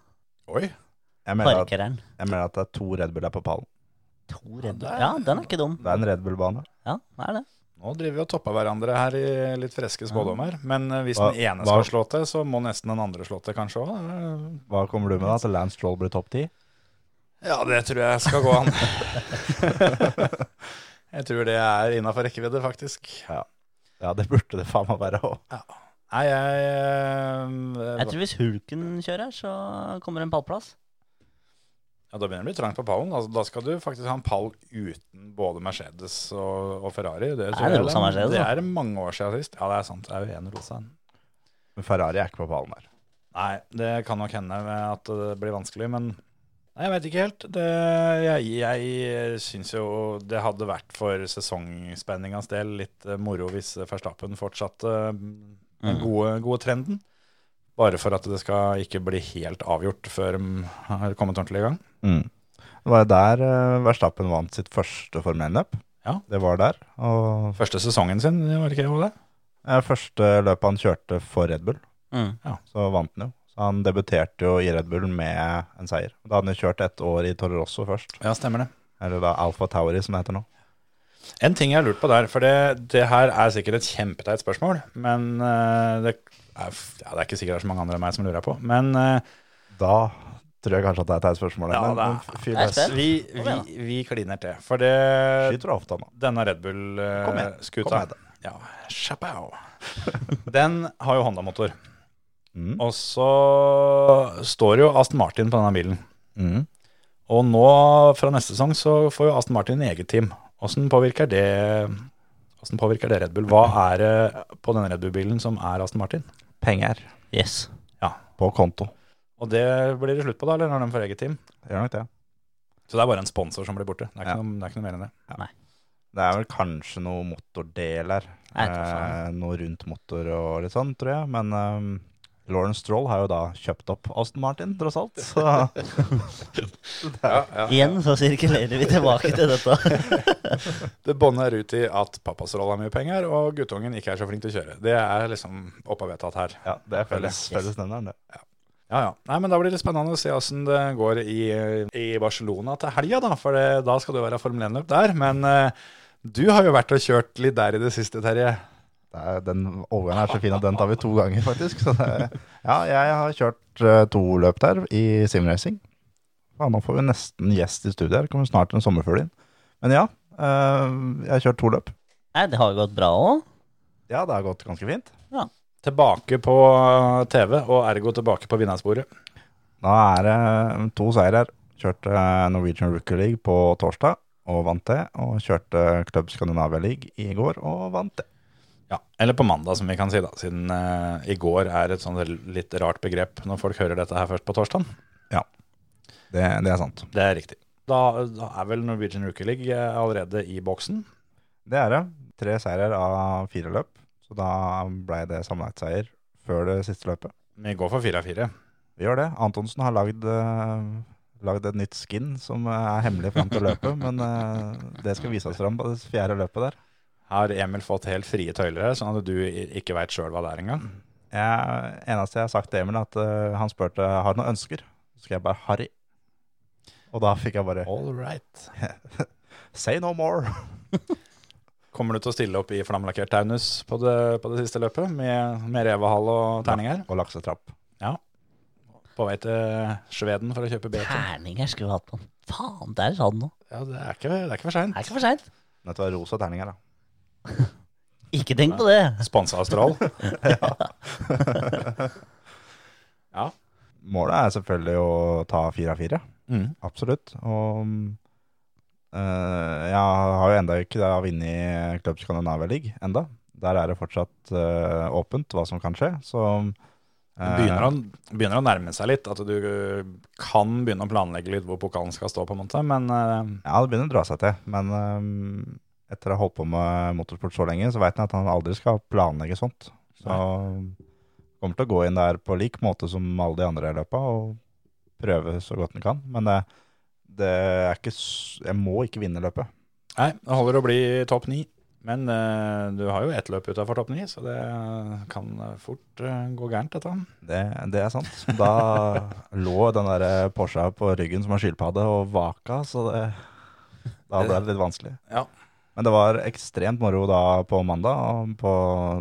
Oi. Jeg mener, at, Parker han. jeg mener at det er to Red Bull her på pallen. To Red Bull. der- Ja, den er ikke dum. Det er en Red Bull-bane. Ja, det er det. Nå driver vi og topper hverandre her i litt freske spådommer. Men eh, hvis Hva- den ene hva- skal slå til, så må nesten den andre slå til kanskje òg. Hva kommer du med, da? At Lance Stroll blir topp ti? Ja, det tror jeg skal gå an. jeg tror det er innafor rekkevidde, faktisk. Ja, det burde det faen meg være òg. Nei, jeg eh, Jeg tror hvis Hulken kjører, så kommer en pallplass. ja, Da begynner det å bli trangt på pallen. Altså, da skal du faktisk ha en pall uten både Mercedes og, og Ferrari. Det, tror Er det jeg rosa Mercedes, det da? er mange år siden sist. Ja, det er sant. Det er jo én rosa. Men Ferrari er ikke på pallen her. Nei, det kan nok hende at det blir vanskelig, men Nei, jeg veit ikke helt. Det, jeg jeg syns jo det hadde vært for sesongspenningas del litt eh, moro hvis Verstappen fortsatte eh, den gode, gode trenden. Bare for at det skal ikke bli helt avgjort før de har kommet ordentlig i gang. Mm. Det var jo der eh, Verstappen vant sitt første Formel 1-løp. Ja. Det var der. Og Første sesongen sin, var det ikke det? eh, første løpet han kjørte for Red Bull, Mm. så vant han jo. Så han debuterte jo i Red Bull med en seier. Da hadde han jo kjørt ett år i Toro Rosso først, Ja, stemmer det. eller da Alfa Tauri, som det heter nå. En ting jeg har lurt på der, for det, det her er sikkert et kjempeteit spørsmål, men eh, det, er, f- ja, det er ikke sikkert det er så mange andre enn meg som lurer på. Men eh, Da tror jeg kanskje at det er et teit spørsmål. Ja, men- det men fyr Jeg er løs. spent. vi, vi, vi kliner til. For det, Skyter ofte, mann. denne Red Eh, Kom igjen, Bull-skuta kom igjen da. ja, Chappau. Den har jo Honda-motor. Mm. Og så står jo Aston Martin på denne bilen. Mm. Og nå, fra neste sesong, så får jo Aston Martin eget team. Åssen påvirker det Hvordan påvirker det Red Bull? Hva er det på denne Red Bull-bilen som er Aston Martin? Penger Yes. på konto. Og det blir det slutt på, da, eller når de får eget team? Gjør nok det. Så det er bare en sponsor som blir borte. Det er ikke, Ja. noe, det er ikke noe mer enn det. Det er vel kanskje noe motordeler. Jeg tar faen. Eh, noe rundt motor og litt sånn, tror jeg. Men um, Lauren Stroll har jo da kjøpt opp Aston Martin, tross alt. Så Igjen så sirkulerer vi tilbake til dette. Det bånner ut i at pappas rolle har mye penger, og guttungen ikke er så flink til å kjøre. Det er liksom oppe og vedtatt her. ja, det er felles, fellesnevneren, det. Ja, ja. Nei, men Da blir det spennende å se åssen det går i, i Barcelona til helga, da. For det, da skal det jo være Formel 1-løp der. Men eh, du har jo vært og kjørt litt der i det siste, Terje. det er, den overgangen er så fin at den tar vi to ganger, faktisk. Så det, ja, jeg har kjørt eh, to løp der i simracing. Ja, nå får vi nesten gjest i studiet her. Kommer snart en sommerfugl inn. Men ja, eh, jeg har kjørt to løp. Nei, det har gått bra òg. Ja, det har gått ganske fint. Tilbake på TV, og ergo tilbake på vinnersporet. Da er det eh, to seirer. Kjørte eh, Norwegian Rooker League på torsdag og vant det. Og kjørte eh, Club Scandinavia League i går og vant det. Ja, Eller på mandag, som vi kan si, da, siden eh, i går er et sånn litt rart begrep når folk hører dette her først på torsdag. Det, det er sant. Det er riktig. Da, da er vel Norwegian Rookie League eh, allerede i boksen. Det er det. Tre seirer av fire løp. Så da ble det sammenlagtseier før det siste løpet. Vi går for fire av fire. Vi gjør det. Antonsen har lagd, eh, lagd et nytt skin som er hemmelig fram til løpet, men eh, det skal vises fram på det fjerde løpet der. Har Emil fått helt frie tøyler her, sånn at du i- ikke veit sjøl hva det er engang? Jeg, eneste jeg har sagt til Emil, er at eh, han spurte har du noen ønsker. Så skal jeg bare 'Harry'. Og da fikk jeg bare All right. Say no more. Kommer du til å stille opp i flammelakkert taunus på det, på det siste løpet, med, med revehale og terninger? Og laksetrapp. På vei til Sveden for å kjøpe BT? Terninger skulle vi hatt på. Faen, der sa den noe. Ja, det er ikke, det er ikke for seint. Det er ikke for seint. Dette var rosa terninger, da. Ikke tenk på det. Sponsa av Strål. Målet er selvfølgelig å ta fire av fire. Mm. Absolutt. Og eh, jeg har jo enda ikke da vunnet Club Scandinavia League enda. Der er det fortsatt eh, åpent hva som kan skje. Så eh, Begynner å, begynner å nærme seg litt, at du kan begynne å planlegge litt hvor pokalen skal stå, på en måte. Men eh, Ja, det begynner å dra seg til. Men eh, etter å ha holdt på med motorsport så lenge, så veit han at han aldri skal planlegge sånt. Så kommer til å gå inn der på lik måte som alle de andre i løpet og prøve så godt han kan. Men det, det er ikke s- Jeg må ikke vinne løpet. nei, det holder å bli topp ni. Men eh, du har jo ett løp utafor topp ni, så det kan fort eh, gå gærent, dette. Det, det er sant. Da lå den der Porscha på ryggen som har skilpadde og vaka, så det Da ble det litt vanskelig. Ja. Men det var ekstremt moro da på mandag, og på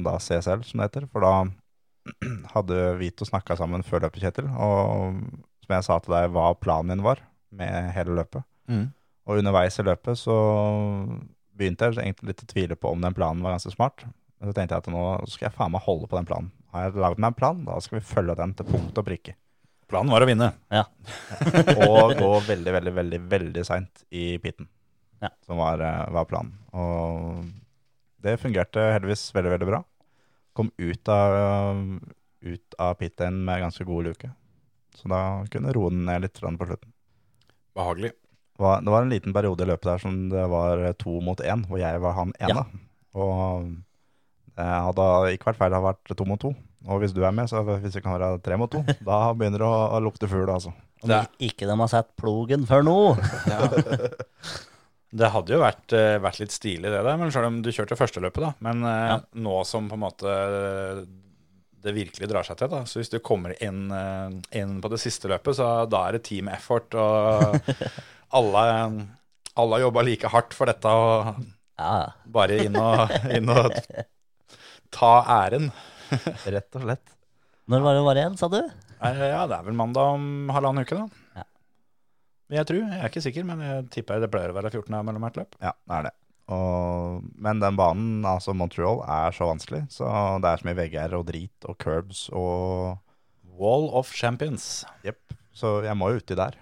da CSL, som det heter. For da hadde vi to snakka sammen før løpet, Kjetil. Og som jeg sa til deg, hva planen min var med hele løpet. Og underveis i løpet så begynte jeg egentlig litt å tvile på om den planen var ganske smart. Men så tenkte jeg at nå skal jeg faen meg holde på den planen. Har jeg lagd meg en plan, da skal vi følge den til punkt og prikke. Planen var å vinne. Og gå veldig, veldig, veldig veldig seint i piten, Ja. som var, eh, var planen. Og det fungerte heldigvis veldig, veldig bra. Kom ut av, eh, ut av piten med ganske god luke. Så da kunne roe den ned litt grann på slutten. Behagelig. var, det var en liten periode i løpet der som det var to mot én, hvor jeg var han ene. Og eh, det hadde ikke vært feil, det hadde vært to mot to. Og hvis du er med, så hvis det kan være tre mot to, da begynner det å, å lukte fugl, altså. Om Det er- ikke de har sett plogen før nå. Det hadde jo vært, eh, vært litt stilig det der, men selv om du kjørte første løpet da, men eh, Ja. nå som på en måte eh, det virkelig drar seg til da, så hvis du kommer inn, eh, inn på det siste løpet, så da er det team effort, og alle, alle har jobbet like hardt for dette, og Ja, bare inn og, inn og ta æren. Rett og slett. Når var det var igjen, sa du? Eh, Ja, det er vel mandag om halvannen uke da. Ja. Men Jeg tror, jeg er ikke sikker, men jeg tipper det pleier å være 14 her mellom hvert løp. Ja, det er det. Og, men den banen, altså Montreal, er så vanskelig. Så det er så mye vegger og drit og curbs og Wall of Champions. Jepp. Så jeg må jo uti der.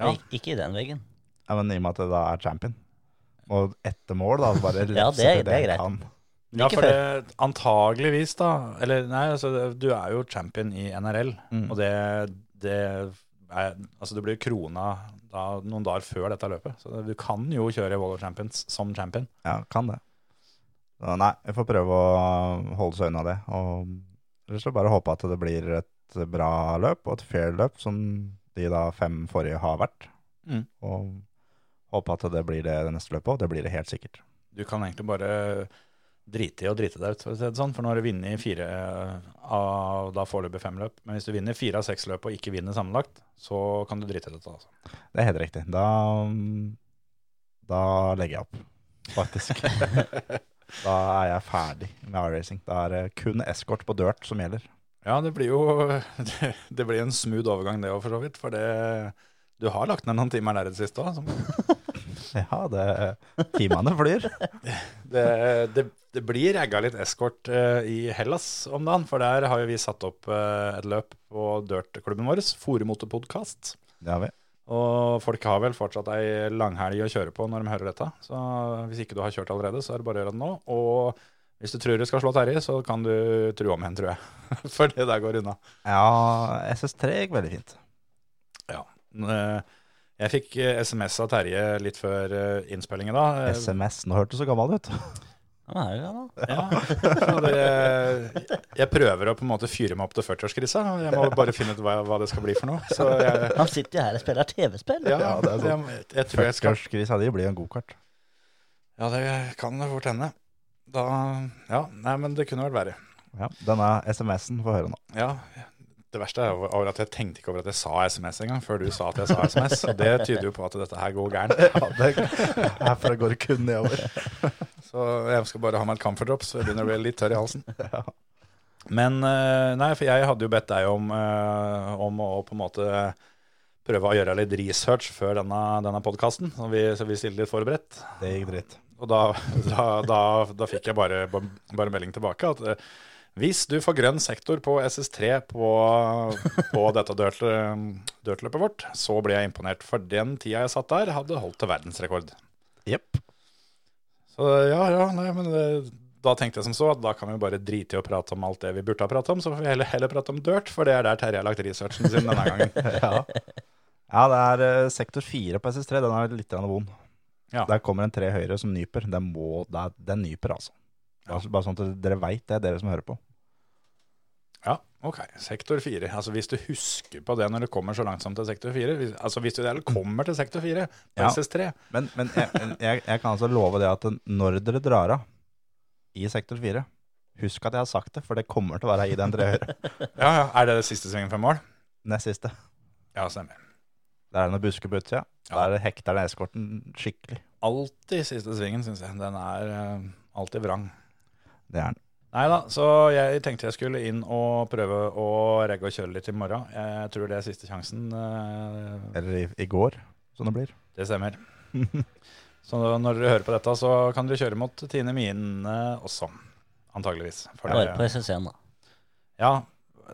Ja. Ik ikke i den veggen. Ja, men i og med at det da er champion. Og etter mål, da, så bare Ja, det er- det er jeg greit. kan. Men Ja, ikke for det, antageligvis da Eller nei, altså, det- du er jo champion i NRL Mm. Og det, det er, Altså du blir krona da, noen dager før dette løpet Så det, du kan jo kjøre i Wall of Champions som champion Ja, kan det. Så nei, vi får prøve å holde seg unna det. Og ellers så bare håpe at det blir et bra løp, og et fair løp, som de da fem forrige har vært. Mm. Og håpe at det blir det det neste løpet, og det blir det helt sikkert. Du kan egentlig bare drite i og drite deg ut for å si det sånn, For nå har du vinner i fire eh, av da foreløpig fem løp Men hvis du vinner fire av seks løp og ikke vinner sammenlagt Så kan du drite i dette altså. Det er helt riktig. Da, da legger jeg opp, faktisk. da er jeg ferdig med iRacing. Da er det kun eskort på dirt som gjelder. Ja, det blir jo det, det blir en smooth overgang det også for så vidt For det, du har lagt ned noen timer der i det siste også som Ja, det, timene flyr. Det, det, det blir ragga litt eskort eh, i Hellas om dagen, for der har jo vi satt opp eh, et løp på dirtklubben vår, Foremotorpodkast. Det har vi. Og folk har vel fortsatt ei langhelg å kjøre på når de hører dette. Så hvis ikke du har kjørt allerede, så er det bare å gjøre det nå. Og hvis du tror du skal slå Terje, så kan du true om henne, tror jeg. For det der går unna. Ja, SS3 gikk veldig fint. Eh, Jeg fikk eh, SMS av Terje litt før eh, innspillingen da. Eh, SMS, nå hørte du så gammel ut. Ja, men er det gammel? Ja. Så det, jeg prøver å på en måte fyre meg opp til 40-årskrisa. Jeg må bare finne ut hva, hva det skal bli for noe. Så jeg, Han sitter jo her og spiller TV-spill. ja, Ja, det er jeg, jeg tror jeg skal Førstgårdsgris hadde jo blitt en godkart. Ja, det kan det fort hende. Da Ja, nei, men det kunne vært verre. Ja, denne SMS-en får høre nå. Ja. Det verste er jo over at jeg tenkte ikke over at jeg sa SMS engang, før du sa at jeg sa SMS. Og det tyder jo på at dette her går gærent. Ja, det, herfra går det kun nedover. Så jeg skal bare ha meg et comfort drops, så jeg begynner å bli litt tørr i halsen. Ja. Men eh, nei, for jeg hadde jo bedt deg om, eh, om å på en måte prøve å gjøre litt research før denne, denne podkasten, så vi, så vi stiller litt forberedt. Det gikk dritt. Og da, da, da, da fikk jeg bare, bare melding tilbake at eh, hvis du får grønn sektor på SS3 på, på dette dirt- dirtløpet vårt, så blir jeg imponert. For den tida jeg satt der, hadde holdt til verdensrekord. Jepp. Så ja, ja, nei, men eh, da tenkte jeg som så at da kan vi bare drite i å prate om alt det vi burde ha pratet om, så får vi heller, heller prate om dirt, for det er der Terje har lagt researchen sin denne gangen. Ja. ja, det er eh, sektor 4 på SS3. Den er litt grann vond. Ja. Der kommer en tre høyre som nyper. Den, må, det er- den nyper, altså. Bare, bare sånn at dere veit det, dere som hører på. Ja, ok. Sektor 4. Altså hvis du husker på det når du kommer så langt som til sektor 4, hvis, altså hvis du i det hele kommer til sektor 4 på Ja. SS3, Men, men jeg, jeg, jeg kan altså love det at når dere drar av i sektor 4 Husk at jeg har sagt det, for det kommer til å være i den tre høyre. ja, ja, er det det siste svingen fem mål? Nest siste. Ja, stemmer. Der er det noen busker på utsida. Ja. Der hekter den eskorten skikkelig. Altid siste svingen, synes jeg. Den er eh, alltid vrang. Det er den. Neida, så jeg tenkte jeg skulle inn og prøve å regge og kjøre litt i morgen. Jeg tror det er siste sjansen. eh, Eller i, i går, som det blir. Det stemmer. Så når dere hører på dette, så kan dere kjøre mot Tine Mine også. Antageligvis. For Bare på det, SS1, da. ja,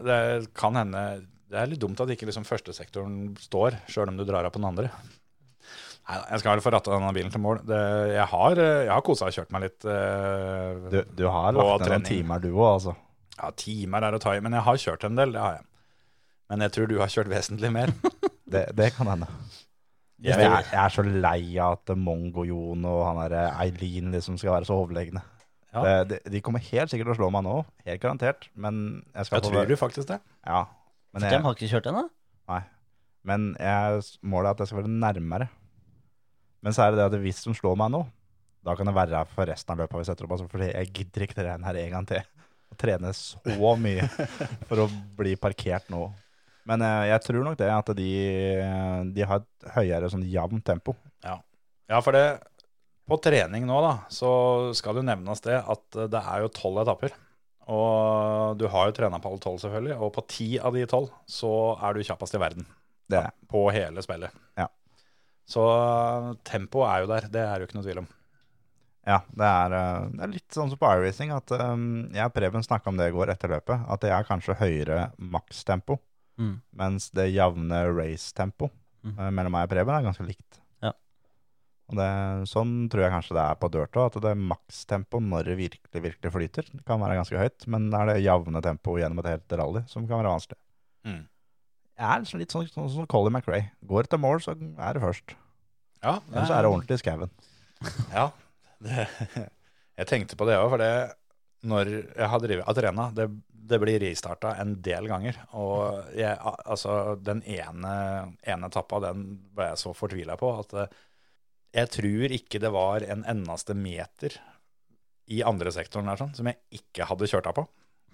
det kan hende Det er litt dumt at ikke liksom førstesektoren står, sjøl om du drar av på den andre. Nei, jeg skal vel få ratta denne bilen til mål. Det, jeg har, eh, jeg har kosa og kjørt meg litt. eh, Du, du har Og lagt ned noen trening. timer, du òg, altså. Ja, timer er å ta i, men jeg har kjørt en del, det har jeg. Men jeg tror du har kjørt vesentlig mer. Det, det kan hende. Jeg, Jeg- er, jeg er så lei av at Mongo-Jon og han der Eileen liksom skal være så overlegne. Ja. Det- De, de kommer helt sikkert til å slå meg nå, helt garantert. Men jeg skal Jeg tror jo faktisk det. Ja, men De jeg, har ikke kjørt ennå? nei. Men jeg, målet er at jeg skal være nærmere. Men så er det det at hvis de slår meg nå, da kan jeg være her for resten av løpet vi setter opp. Altså, fordi jeg gidder ikke trene her en gang til. Og trene så mye for å bli parkert nå. Men eh, jeg tror nok det at de, de har et høyere sånn jevnt tempo. Ja, for det På trening nå, da, så skal det jo nevnes det at eh, det er jo tolv etapper. Og du har jo trena på alle tolv, selvfølgelig. Og på ti av de tolv så er du kjappest i verden. Det er På hele spillet. Ja. Så tempoet er jo der. Det er det jo ikke noe tvil om. Ja, det er, eh, det er litt sånn som på iRacing at um, jeg og Preben snakka om det i går etter løpet. At det er kanskje høyere makstempo, Mm. mens det jevne racetempo Mhm. eh, mellom meg og Preben er ganske likt. Ja. Og det, sånn tror jeg kanskje det er på dirt òg, at det er makstempo når det virkelig, virkelig flyter. Det kan være ganske høyt, men det er det jevne tempoet gjennom et helt rally som kan være vanskelig. Mhm. Jeg er liksom litt sånn, sånn som Colin McRae. Går etter mål, så er det først. Ja, Ellers er det ordentlig i skauen. Ja. Det, jeg tenkte på det òg, for det når jeg har drevet Atrena, det, det blir restarta en del ganger. Og jeg, al- altså, den ene, ene etappa, den ble jeg så fortvila på at eh, jeg tror ikke det var en eneste meter i andre sektoren der, sånn, som jeg ikke hadde kjørt av på.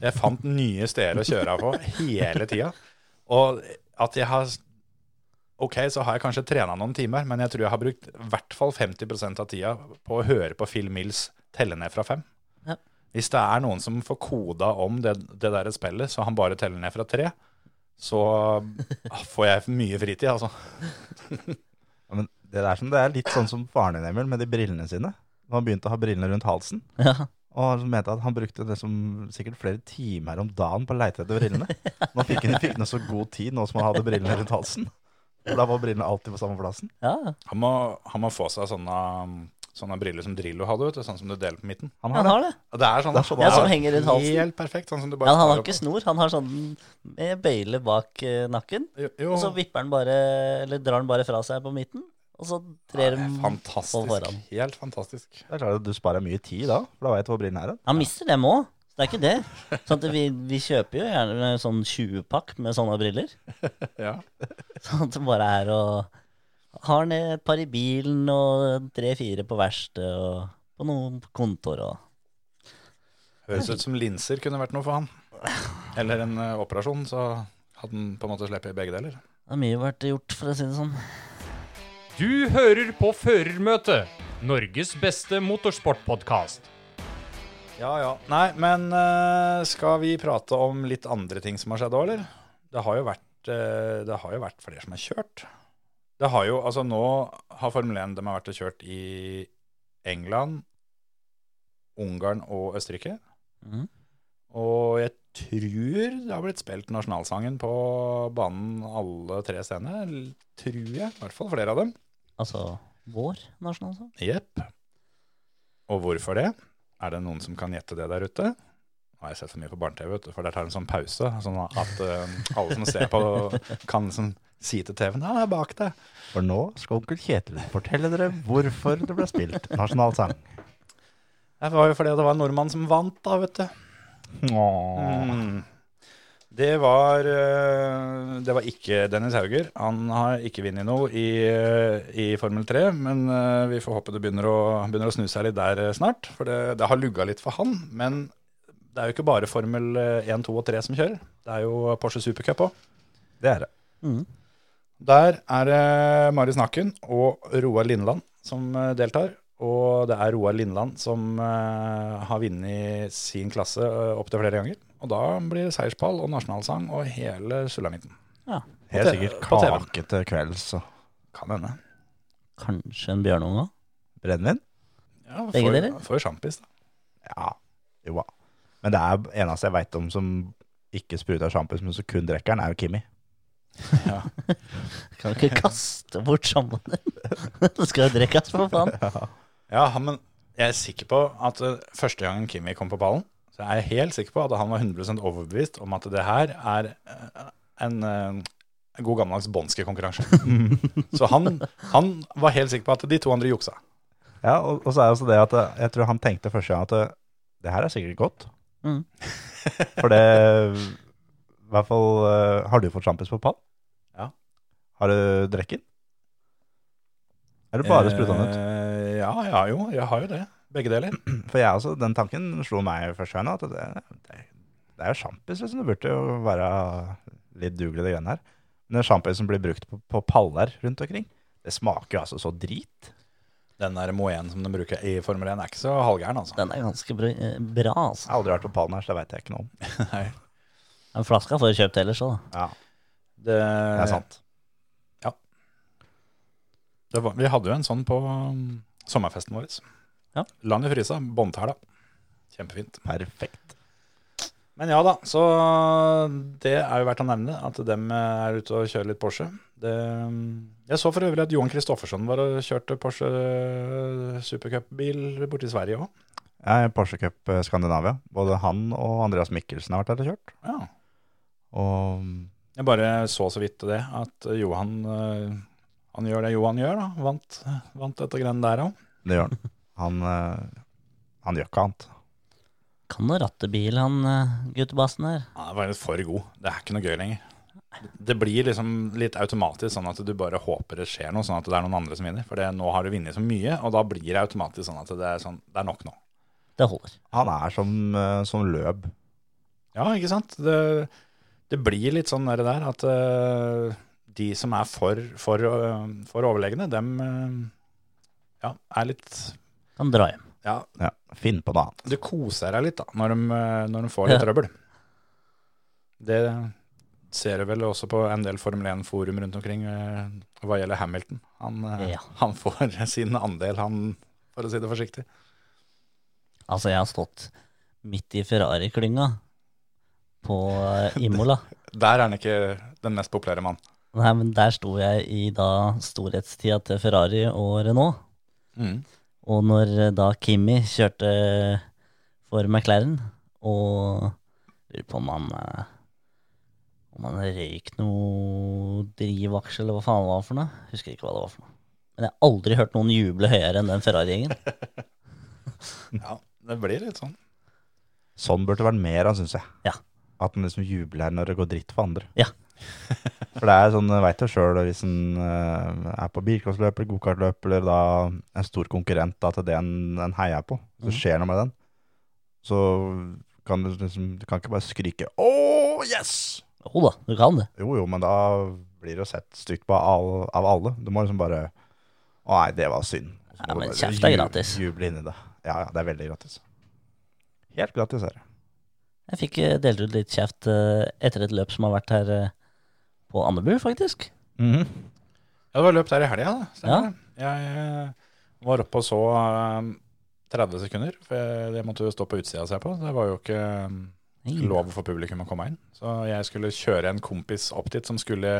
Jeg fant nye steder å kjøre av på hele tida. Og at jeg har Ok, så har jeg kanskje trena noen timer, men jeg tror jeg har brukt i hvert fall 50 av tida på å høre på Phil Mills telle ned fra fem. Ja. Hvis det er noen som får koda om det, det der spillet, så han bare teller ned fra tre, så ah, får jeg mye fritid, altså. Ja, men det, der, som- det er litt sånn som faren din, Emil, med de brillene sine. Når han begynte å ha brillene rundt halsen. Ja. Og han mente at han brukte det som sikkert flere timer om dagen på å leite etter brillene. Nå fikk han fikk han så god tid nå som han hadde brillene rundt halsen. For da var brillene alltid på samme plassen. ja. Han må, han må få seg sånne, sånne briller som Drillo hadde, vet du, sånn som du deler på midten. Han har Han det. har det. Og Det er sånn, Det er sånn Ja, som henger rundt halsen. Helt perfekt. Sånn som du Ja, bare han har tar ikke opp- snor. Han har sånn med bøyle bak eh, nakken. Jo, Og så vipper han bare, eller drar han bare fra seg på midten. Og så trer det er han fantastisk. foran. Helt fantastisk. Det er klart at du sparer mye tid da, for da veit du hvor brillene er. hen. Han mister dem òg, så det er ikke det. Sånn at vi, vi kjøper jo gjerne sånn 20-pakk med sånne briller. Ja. Sånn at det bare er å Har han et par i bilen og tre-fire på verksted og på noen kontor og Høres ut som linser kunne vært noe for han. Eller en eh, operasjon, så hadde han på en måte sluppet begge deler. Det har mye vært gjort, for å si det sånn. Du hører på Førermøtet, Norges beste motorsportpodkast. Ja, ja. Nei, men eh, skal vi prate om litt andre ting som har skjedd òg, eller? Det har jo vært, eh, det har jo vært flere som har kjørt. Det har jo, altså Nå har Formel 1 de har vært og kjørt i England, Ungarn og Østerrike. Mhm. Og jeg tror det har blitt spilt nasjonalsangen på banen alle tre stedene. l- Tror jeg. I hvert fall flere av dem. Altså vår nasjonalsang. Jepp. Og hvorfor det? Er det noen som kan gjette det der ute? Nå har jeg sett for mye på barne-TV, vet du, for der tar en sånn pause. Sånn at eh, alle som ser på, kan liksom si til TV-en Ja, det er bak deg. For nå skal onkel Kjetil fortelle dere hvorfor det ble spilt nasjonalsang. Det var jo fordi det var en nordmann som vant, da, vet du. Åh. Mm. Det var eh, Det var ikke Dennis Hauger. Han har ikke vunnet noe i, eh, i Formel 3, men eh, vi får håpe det begynner å, begynner å snu seg litt der eh, snart. For det, det har lugga litt for han. Men det er jo ikke bare Formel 1, 2 og 3 som kjører. Det er jo Porsche Supercup òg. Det er det. Mm. Der er det Marius Nakken og Roar Lindland som eh, deltar. Og det er Roar Lindland som eh, har vunnet sin klasse eh, opptil flere ganger. Og da blir det seierspall og nasjonalsang og hele sulamitten. Ja. Helt På te- sikkert på TV-en. kake til kvelds og Kan hende. Kanskje en bjørnunge òg? brennevin. Ja, Begge får- deler? Får jo sjampis, da. Ja, jo da. Men det er eneste jeg veit om som ikke spruter sjampis, men som kun drikker den, er jo Kimi. Kan ikke kaste bort sammen Det skal jo drikkes, for faen. Ja, han- men jeg er sikker på at eh, første gangen Kimi kom på ballen, så er jeg helt sikker på at han var 100 overbevist om at det her er eh, en eh, god gammeldags bånskekonkurranse. Så han, han var helt sikker på at de to andre juksa. Ja, og, og så er det også det at eh, jeg tror han tenkte første gang at eh, det her er sikkert godt. Mm. For det I hvert fall eh, Har du fått sjampis på pann? Ja. Har du drukket? Eller bare spruta den ut? Eh, Ja, ja, jo, jeg har jo det. Begge deler. For jeg også, den tanken slo meg første gang at det, det, det er jo sjampis, liksom. Det burde jo være litt dugelig, det greiene her. Men den sjampisen som blir brukt på, på paller rundt omkring, det smaker jo altså så drit. Den der Moen som de bruker i Formel 1 er ikke så halvgæren, altså. Den er ganske bra, eh, bra Jeg altså. har aldri vært på pallen her, så det veit jeg ikke noe om. Nei, Den flaska får du kjøpt ellers òg, da. Ja, det, det Eh. er sant. Det var, vi hadde jo en sånn på um, sommerfesten vår. Ja. Lang i frysa, båndtæla. Kjempefint. Perfekt. Men ja da, så det er jo verdt å nevne at dem eh, er ute og kjører litt Porsche. Det, mm, jeg så for øvrig at Johan Kristoffersson var og kjørte Porsche eh, Supercup-bil borti Sverige òg. Jeg er Porsche Cup eh, Skandinavia. Både han og Andreas Mikkelsen har vært der og kjørt. Ja. Og Jeg bare så så vidt det, at Johan eh, han gjør det Johan gjør, da. Vant, vant dette greiene der òg. det gjør han. Han, eh, han gjør ikke annet. Kan nå ratte bil, han eh, guttebassen her. Han er faktisk for god. Det er ikke noe gøy lenger. Det blir liksom litt automatisk sånn at du bare håper det skjer noe, sånn at det er noen andre som vinner. For det, nå har du vunnet så mye, og da blir det automatisk sånn at det er, sånn, det er nok nå. Det holder. Han er som, eh, som løb. Ja, ikke sant? Det, det blir litt sånn der, der at eh, de som er for, for, eh, for overlegne, dem eh, ja, er litt Kan dra hjem. Ja, Ja, finn på noe annet. du koser deg litt da, når de, eh, når de får litt Ja. trøbbel. Det ser du vel også på en del Formel 1-forum rundt omkring eh, hva gjelder Hamilton. Han, eh, Ja. han får sin andel, han, for å si det forsiktig. Altså, jeg har stått midt i Ferrari-klynga på eh, Imola. Der er han ikke den mest populære mannen. Nei, men der sto jeg i da storhetstida til Ferrari og Renault. Mm. Og når eh, da Kimi kjørte for McLaren, og lurer på om han eh, Om han røyk noe drivaksje, eller hva faen det var for noe. Husker ikke hva det var for noe. Men jeg har aldri hørt noen juble høyere enn den Ferrari-gjengen. Ja, det blir litt sånn. Sånn burde det vært mer av, syns jeg. Ja. At en liksom jubler når det går dritt for andre. Ja. for det er sånn, veit du sjøl, hvis en eh, er på bilcrossløp eller gokartløp eller da en stor konkurrent da, til det en, en heier på, Mm. så skjer noe med den. Så kan du liksom Du kan ikke bare skrike 'Å, yes!' Jo da, du kan det. Jo, jo, men da blir det jo sett stygt på av, av alle. Du må liksom bare 'Å nei, det var synd'. Og så Ja, må du men bare kjeft er ju- gratis. Juble inni det. Ja, ja, det er veldig gratis. Helt gratis er det. Jeg fikk eh, delt ut litt kjeft eh, etter et løp som har vært her eh, på Andebu, faktisk. Mhm. Ja, det var løp der i helga, da. Ja. stemmer det. Jeg eh, var oppe og så eh, 30 sekunder, for jeg, jeg måtte jo stå på utsida og se på. Det var jo ikke eh, Nei. lov for publikum å komme inn. Så jeg skulle kjøre en kompis opp dit som skulle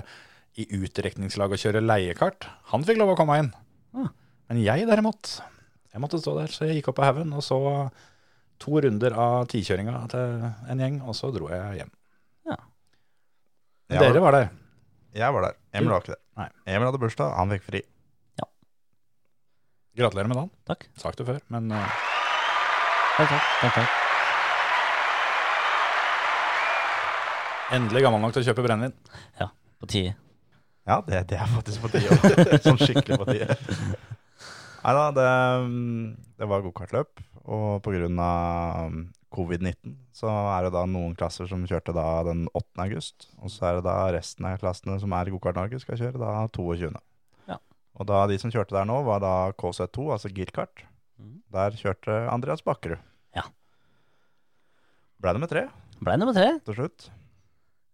i utdrekningslag og kjøre leiekart. Han fikk lov å komme inn. Ah. Men jeg derimot, jeg måtte stå der. Så jeg gikk opp på haugen og så to runder av tikjøringa til en gjeng, og så dro jeg hjem. Men Jeg var- Dere var der. Jeg var der. Emil var ikke det. Nei. Emil hadde bursdag, han fikk fri. Gratulerer med dagen. Takk. Sagt det før, men eh, Takk, takk, takk, takk. endelig gammel nok til å kjøpe brennevin. På tide. Ja, det, det er faktisk på tide. også. sånn skikkelig på tide. Nei da, det, mm, det var gokartløp, og pga. covid-19 så er det da noen klasser som kjørte da den 8. august, og så er det da resten av klassene som er i Gokart-Norge skal kjøre da 22. Ja. Og da de som kjørte der nå, var da KZ2, altså girkart. Mhm. Der kjørte Andreas Bakkerud. Ja. Ble nummer tre Blei nummer tre, til slutt.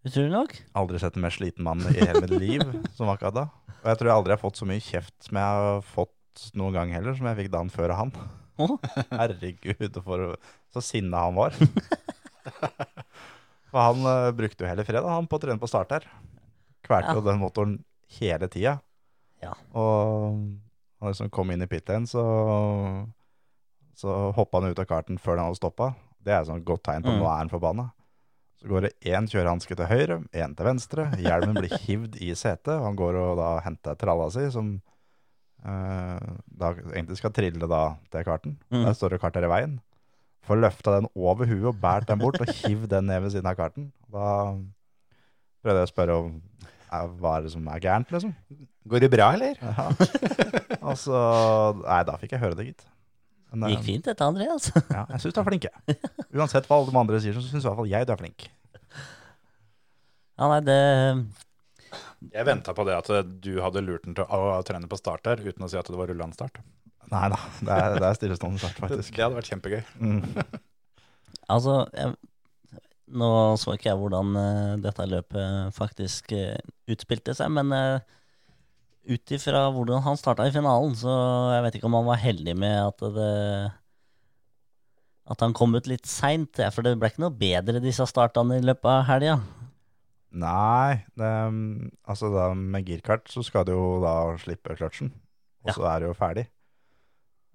utrolig nok. Aldri sett en mer sliten mann i hele mitt liv som akkurat da. Og jeg tror jeg aldri har fått så mye kjeft som jeg har fått noen gang heller, som jeg fikk dagen før av han. Åh. Herregud, for så sinna han var. For han eh, brukte jo hele fredag han på å trene på start her. Kvelte jo den motoren hele tida. Ja. Og han liksom kom inn i pit lane, så, så hoppa han ut av karten før han hadde stoppa. Det er et sånt godt tegn på at Mm. nå er han forbanna. Så går det én kjørehanske til høyre, én til venstre. Hjelmen blir hivd i setet. og Han går og da henter tralla si, som eh, da egentlig skal trille da til karten. Mm. Der står det kart her i veien. Får løfta den over huet og båret den bort og hivd den ned ved siden av karten. Da prøvde jeg å spørre om eh, hva er det som er gærent, liksom. Går det bra, eller? Ja. Og så Nei, da fikk jeg høre det, gitt. Men, eh, Gikk fint dette, Andreas. ja, jeg syns du er flink, jeg. Uansett hva alle de andre sier, så syns i hvert fall jeg du er flink. Ja, nei, det Jeg venta på det at eh, du hadde lurt den til å trene på start der, uten å si at det var rullandstart. Nei da, det er, det er stillestående start, Det, faktisk. det hadde vært kjempegøy. Mm. Altså, jeg, nå så ikke jeg hvordan eh, dette løpet faktisk eh, utspilte seg, men uh, ut ifra hvordan han starta i finalen, så jeg vet ikke om han var heldig med at det At han kom ut litt seint, for det ble ikke noe bedre disse startene i løpet av helga. Nei, det, mm, altså da med girkart så skal du jo da slippe kløtsjen, og så er du jo ferdig.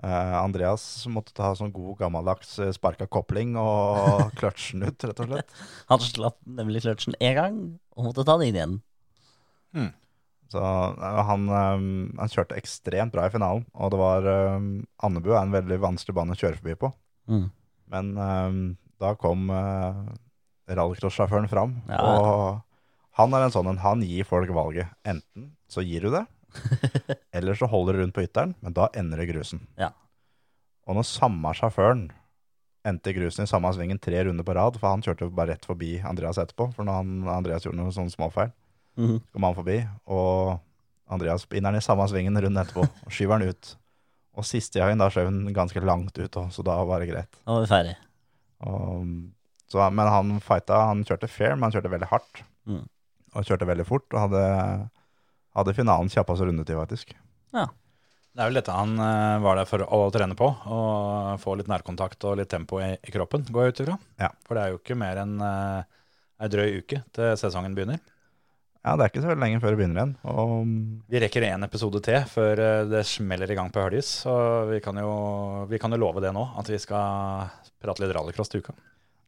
Eh, Andreas måtte ta sånn god gammeldags eh, sparka kopling og kløtsjen ut, rett og slett. Han slapp nemlig kløtsjen én gang og måtte ta den inn igjen. Så eh, han, eh, han kjørte ekstremt bra i finalen, og det var eh, Andebu er en veldig vanskelig bane å kjøre forbi på. Mm. Men ehm, da kom uh, rallycross-sjåføren fram, Ja. og han er en sånn en. Han gir folk valget. Enten så gir du det, eller så holder du rundt på ytteren, men da ender det i grusen. Ja. Og når samme sjåføren endte i grusen i samme svingen tre runder på rad, for han kjørte bare rett forbi Andreas etterpå, for når han, Andreas gjorde noen sånne småfeil, Mhm. så kom han forbi, og Andreas binder han i samme svingen runden etterpå, og skyver han ut. Og siste gangen da skjøv han ganske langt ut, også, så da var det greit. Da var vi ferdig. Og, Um, så, men han fighta, han kjørte fair, men han kjørte veldig hardt. Mm. Og kjørte veldig fort, og hadde, hadde finalen kjappest rundetid, faktisk. Det er vel dette han eh, var der for å trene på, og få litt nærkontakt og litt tempo i, i kroppen, går jeg ut ifra. Ja. For det er jo ikke mer enn eh, ei drøy uke til sesongen begynner. Ja, det er ikke så veldig lenge før det begynner igjen. Og Vi rekker én episode til før eh, det smeller i gang på Høljes, så vi kan, jo, vi kan jo love det nå, at vi skal prate litt rallycross til uka.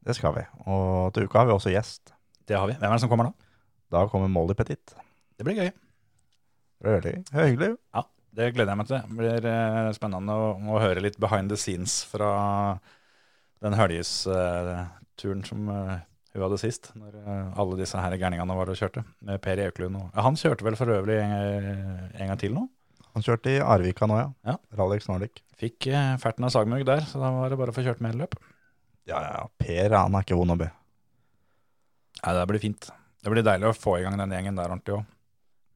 det skal vi. Og til uka har vi også gjest. Det har vi. Hvem er det som kommer da? Da kommer Molly Petit. Det blir gøy. Det blir veldig det er hyggelig. Ja, det gleder jeg meg til. Det blir eh, spennende å, å høre litt behind the scenes fra den Høljes-turen som eh, hun hadde sist, når eh, alle disse her gærningene var og kjørte, med Per Auklund. Og, ja, han kjørte vel for øvrig en, en gang til nå. Han kjørte i Arvika nå, ja. Ja. Rallyx Nordic. Fikk eh, ferten av sagmugg der, så da var det bare å få kjørt mer løp. Ja, ja, ja. Per, han er ikke vond å be. Nei, det blir fint. Det blir deilig å få i gang den gjengen der ordentlig òg.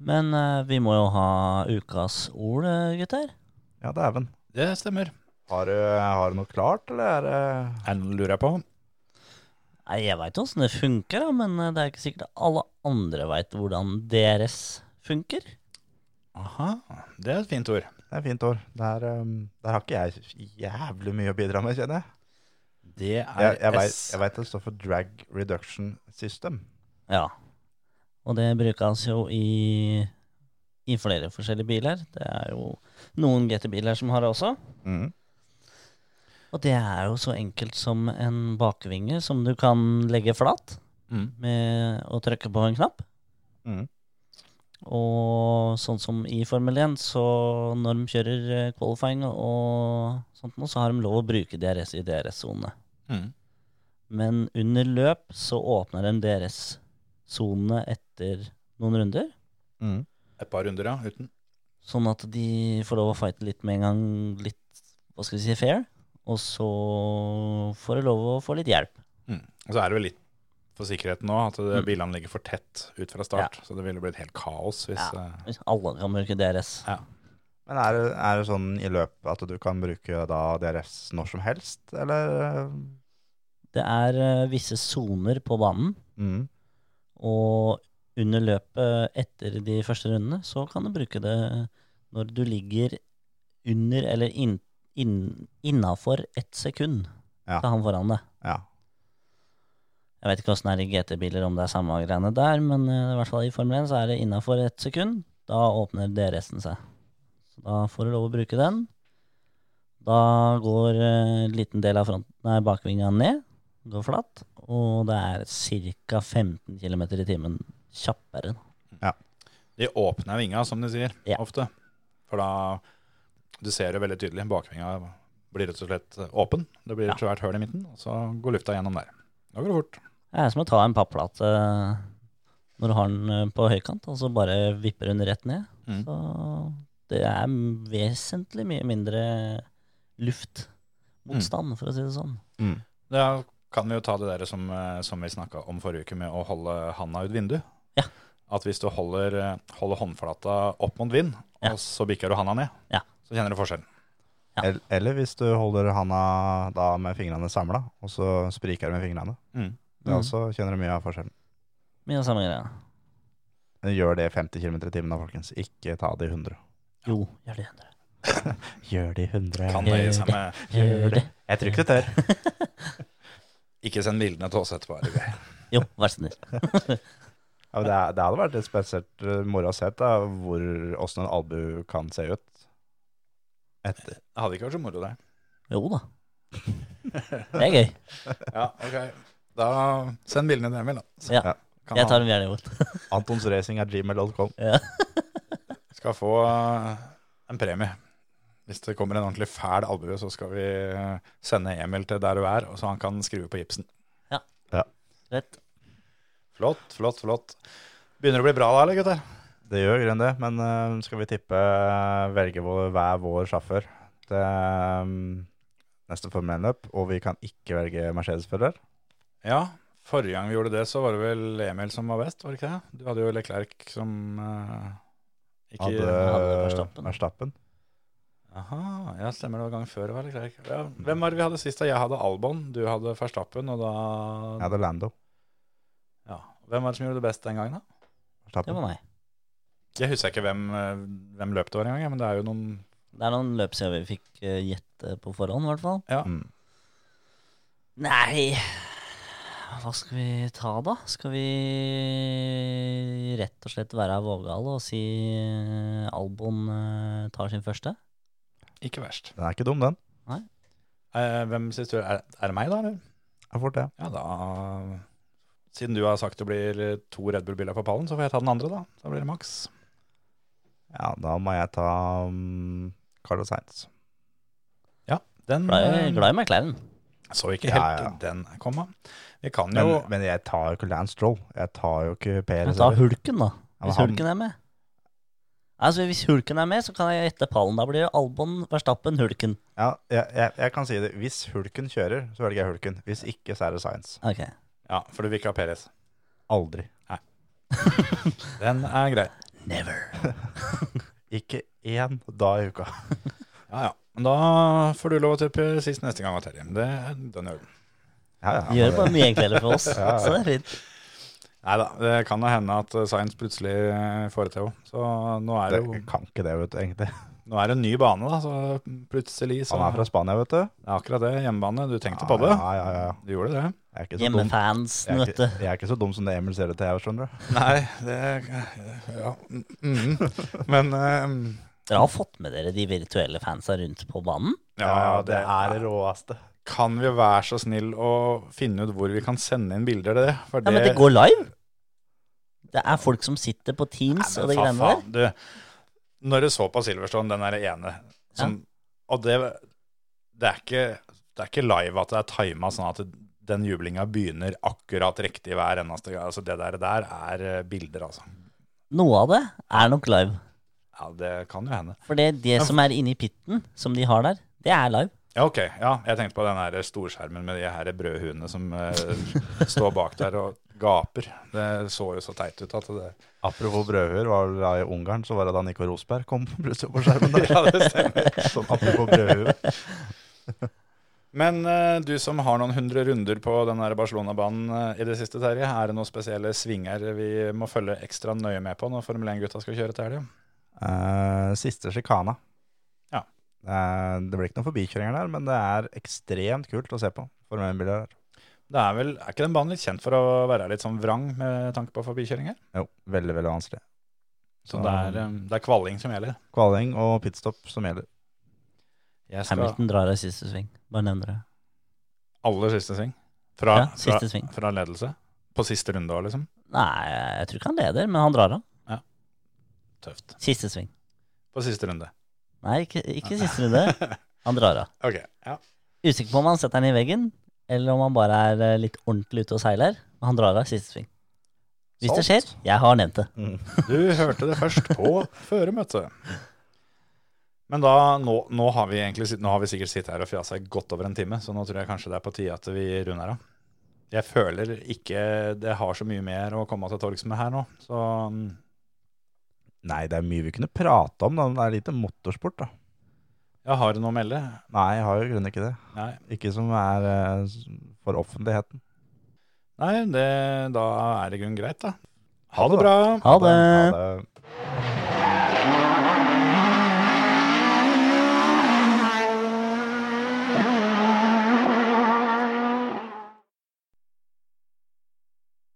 Men eh, vi må jo ha ukas ord, eh, gutter. Ja, dæven. Det stemmer. Har, du- har du noe klart, eller er det Jeg lurer jeg på. Nei, jeg veit åssen det funker, da, men eh, det er ikke sikkert at alle andre veit hvordan DRS funker. Aha, det er et fint ord. Det er et fint år. Der, um, der har ikke jeg jævlig mye å bidra med, kjenner jeg. Det er Jeg, jeg, vet, S. jeg vet det står for Drag Reduction System. Ja. Og det brukes jo i, i flere forskjellige biler. Det er jo noen GT-biler som har det også. Mm, Og det er jo så enkelt som en bakvinge som du kan legge flat Mm. med å trykke på en knapp. Mhm. Og sånn som i Formel 1, så når de kjører eh, qualifying og sånt noe, så har de lov å bruke DRS i DRS-sonene. Mm. Men under løp så åpner de DRS-sonene etter noen runder. mm. Et par runder, ja. Uten. Sånn at de får lov å fighte litt med en gang, litt, hva skal vi si, fair. Og så får de lov å få litt hjelp. Mm. Og så er det vel litt for sikkerheten nå, at Mm. det- bilene ligger for tett ut fra start. Så det ville blitt helt kaos hvis Ja. eh, Hvis Alle kan bruke DRS. Men er det, er det sånn i løpet at du kan bruke da DRS når som helst, eller? eh, Det er eh, visse soner på banen, Mm. og under løpet etter de første rundene, så kan du bruke det når du ligger under eller inn, inn, innafor ett sekund Ja. til han foran deg. Ja. Jeg vet ikke åssen det er i GT-biler, om det er samme greiene der, men eh, i hvert fall i Formel 1 så er det innafor ett sekund. Da åpner DRS-en seg. Så da får du lov å bruke den. Da går eh, en liten del av fronten, nei, bakvinga ned, går flatt, Og det er ca. 15 km i timen kjappere. da. De åpner vinga, som de sier, Ja. ofte. For da Du ser det veldig tydelig. Bakvinga blir rett og slett eh, åpen. Det blir et svært høl i midten, og så går lufta gjennom der. Da går det fort. Det er som å ta en papplate eh, når du har den eh, på høykant, og så bare vipper hun rett ned. Mm. Så det er vesentlig mye mindre luftmotstand, for å si det sånn. Da kan vi jo ta det der som, eh, som vi snakka om forrige uke, med å holde handa ut vinduet. Ja. At hvis du holder, eh, holder håndflata opp mot vind, Ja. og så bikker du handa ned, Ja. så kjenner du forskjellen. Ja. El- Eller hvis du holder handa da med fingrene samla, og så spriker du med fingrene. Det Mm. også kjenner du mye av forskjellen. Mye av samme greia. Gjør det 50 km i timen da, folkens. Ikke ta de 100. Jo, gjør det. Endre. Gjør de 100. Kan nøye seg med Gjør det. Jeg tror ikke du tør. Ikke send bildene til oss etterpå. er det greit? Jo, vær så snill. Ja, men det, er- det hadde vært litt spesielt eh, moro å se da, hvor, hvordan en albu kan se ut. Etter. Det hadde ikke vært så moro, det. Jo da. Det er gøy. Ja, ok. Da send bildene til Emil, da. Så Ja. kan Jeg tar han- en bjernebot. Antonsracing er gmail.com. Ja. Skal få eh, en premie. Hvis det kommer en ordentlig fæl albue, så skal vi eh, sende Emil til der du er, og så han kan skrive på gipsen. Rett. Flott, flott, flott. Begynner det å bli bra da, eller gutter? Det gjør grunn det, men eh, skal vi tippe eh, velge vår, hver vår sjåfør til eh, neste Formel 1-løp, og vi kan ikke velge Mercedes-fører? Ja, forrige gang vi gjorde det, så var det vel Emil som var best, var det ikke det? Du hadde jo Leclerc som eh, ikke Hadde, hadde Verstappen. Verstappen. Aha, ja, stemmer det var gangen før det var Leclerc. Ja, hvem var det vi hadde sist? da? Jeg hadde Albon, du hadde Verstappen, og da Jeg hadde Lando. ja. Hvem var det som gjorde det best den gangen, da? Det Verstappen. var meg. Jeg husker ikke hvem, eh, hvem løp det var engang, ja, men det er jo noen Det er noen løp siden vi fikk eh, gjette på forhånd, i hvert fall. Ja. Mm. Nei Hva skal vi ta, da? Skal vi rett og slett være vågale og si eh, Albon eh, tar sin første? Ikke verst. Den er ikke dum, den. Eh, hvem synes du er, er det meg, da? Eller? Det er fort, det. Ja, da Siden du har sagt det blir to Red Bull-biler på pallen, så får jeg ta den andre, da. Da blir det maks. Ja, da må jeg ta um, Carlos Heinz. Den Glad i, Mm. eh, glad i McLaren. så ikke helt Ja, den komme. Vi kan Men, jo men jeg tar jo ikke Lance Stroll. Jeg tar jo ikke Men Perez. ta heller. Hulken, da. men Hvis han- Hulken er med. Altså, Hvis Hulken er med, så kan jeg gjette pallen. Da blir det Albon, Verstappen, Hulken. Ja, jeg, jeg, jeg kan si det. Hvis Hulken kjører, så velger jeg Hulken. Hvis ikke, så er det Science. Ok. Ja, for du vil ikke ha Perez. Aldri. Den er grei. Never. Ikke én dag i uka. Ja, ja. Men da får du lov å tippe sist neste gang, Terje. Det er den ølen. Ja, ja, Gjør men- bare mye enklere for oss. Så det er fint. Nei da, det kan da hende at Science plutselig eh, får det til òg. Så nå er det jo det kan ikke det, vet du, egentlig. nå er det en ny bane, da. Så plutselig så Han er fra Spania, vet du. Det er akkurat det. Hjemmebane. Du tenkte på det. Ja, ja, ja, ja. Du gjorde det. Jeg er ikke så dum. Jeg er, Hjemmefansen, vet du. ikke, jeg er ikke så dum som det Emil ser ut til, jeg skjønner du. Nei, det Ja. Mm, men eh, Dere har fått med dere de virtuelle fansa rundt på banen? ja, det er det råeste. kan vi være så snill å finne ut hvor vi kan sende inn bilder til det? For Ja, men det går live! Det er folk som sitter på Nei, Teams men og de fa- greiene der. faen, Du, når du så på Silverstone, den der ene som, Og det, det, er ikke, det er ikke live at det er tima sånn at den jublinga begynner akkurat riktig hver eneste gang. Altså, det der, der er eh, bilder, altså. Noe av det er nok live. Ja, det kan jo hende. For det, det som er inni pitten, som de har der, det er live. Ja, ok. Ja, jeg tenkte på den her eh, storskjermen med de her brødhuene som eh, står bak der og gaper. Det så jo så teit ut at det Apropos brødhuer, var vel da i Ungarn, så var det da Nico Rosberg kom plutselig på skjermen der. Ja, det stemmer. Sånn apropos brødhuer. Men eh, du som har noen hundre runder på den her Barcelona-banen eh, i det siste, Terje. Er det noen spesielle svinger vi må følge ekstra nøye med på når Formel 1-gutta skal kjøre til helga? Eh, siste sjikana. Ja. Eh, det blir ikke noen forbikjøringer der, men det er ekstremt kult å se på. Formel 1-biler der. Det er vel, er ikke den banen litt kjent for å være litt sånn vrang med tanke på forbikjøringer? Jo, veldig, veldig vanskelig. Så det er, eh, det er kvalling som gjelder. Kvaling og pitstop som gjelder. Jeg skal Hamilton drar av siste sving. Bare nevner det. aller siste sving. Fra, Ja, fra, siste sving. fra ledelse? På siste runde òg, liksom? Nei, jeg tror ikke han leder, men han drar av. Tøft. Siste sving. På siste runde. Nei, ikke, ikke siste runde. Han drar av. Ok, ja. Usikker på om han setter den i veggen, eller om han bare er eh, litt ordentlig ute og seiler. Men han drar av siste sving. Hvis det skjer, jeg har nevnt det. Du hørte det først på føremøtet. Men da, nå, nå, har vi egentlig, sitt- nå har vi sikkert sittet her og fjasa i godt over en time, så nå tror jeg kanskje det er på tide at vi runder av. Jeg føler ikke det har så mye mer å komme til torgs med her nå, så mm, Nei, det er mye vi kunne prate om, da, men det er lite motorsport, da. jeg har noe å melde. Nei, jeg har jo i grunnen ikke det. Nei, Ikke som er eh, s- for offentligheten. Nei det, da er det i grunnen greit, da. Ha Ha det, det bra! Ha det! Ha det.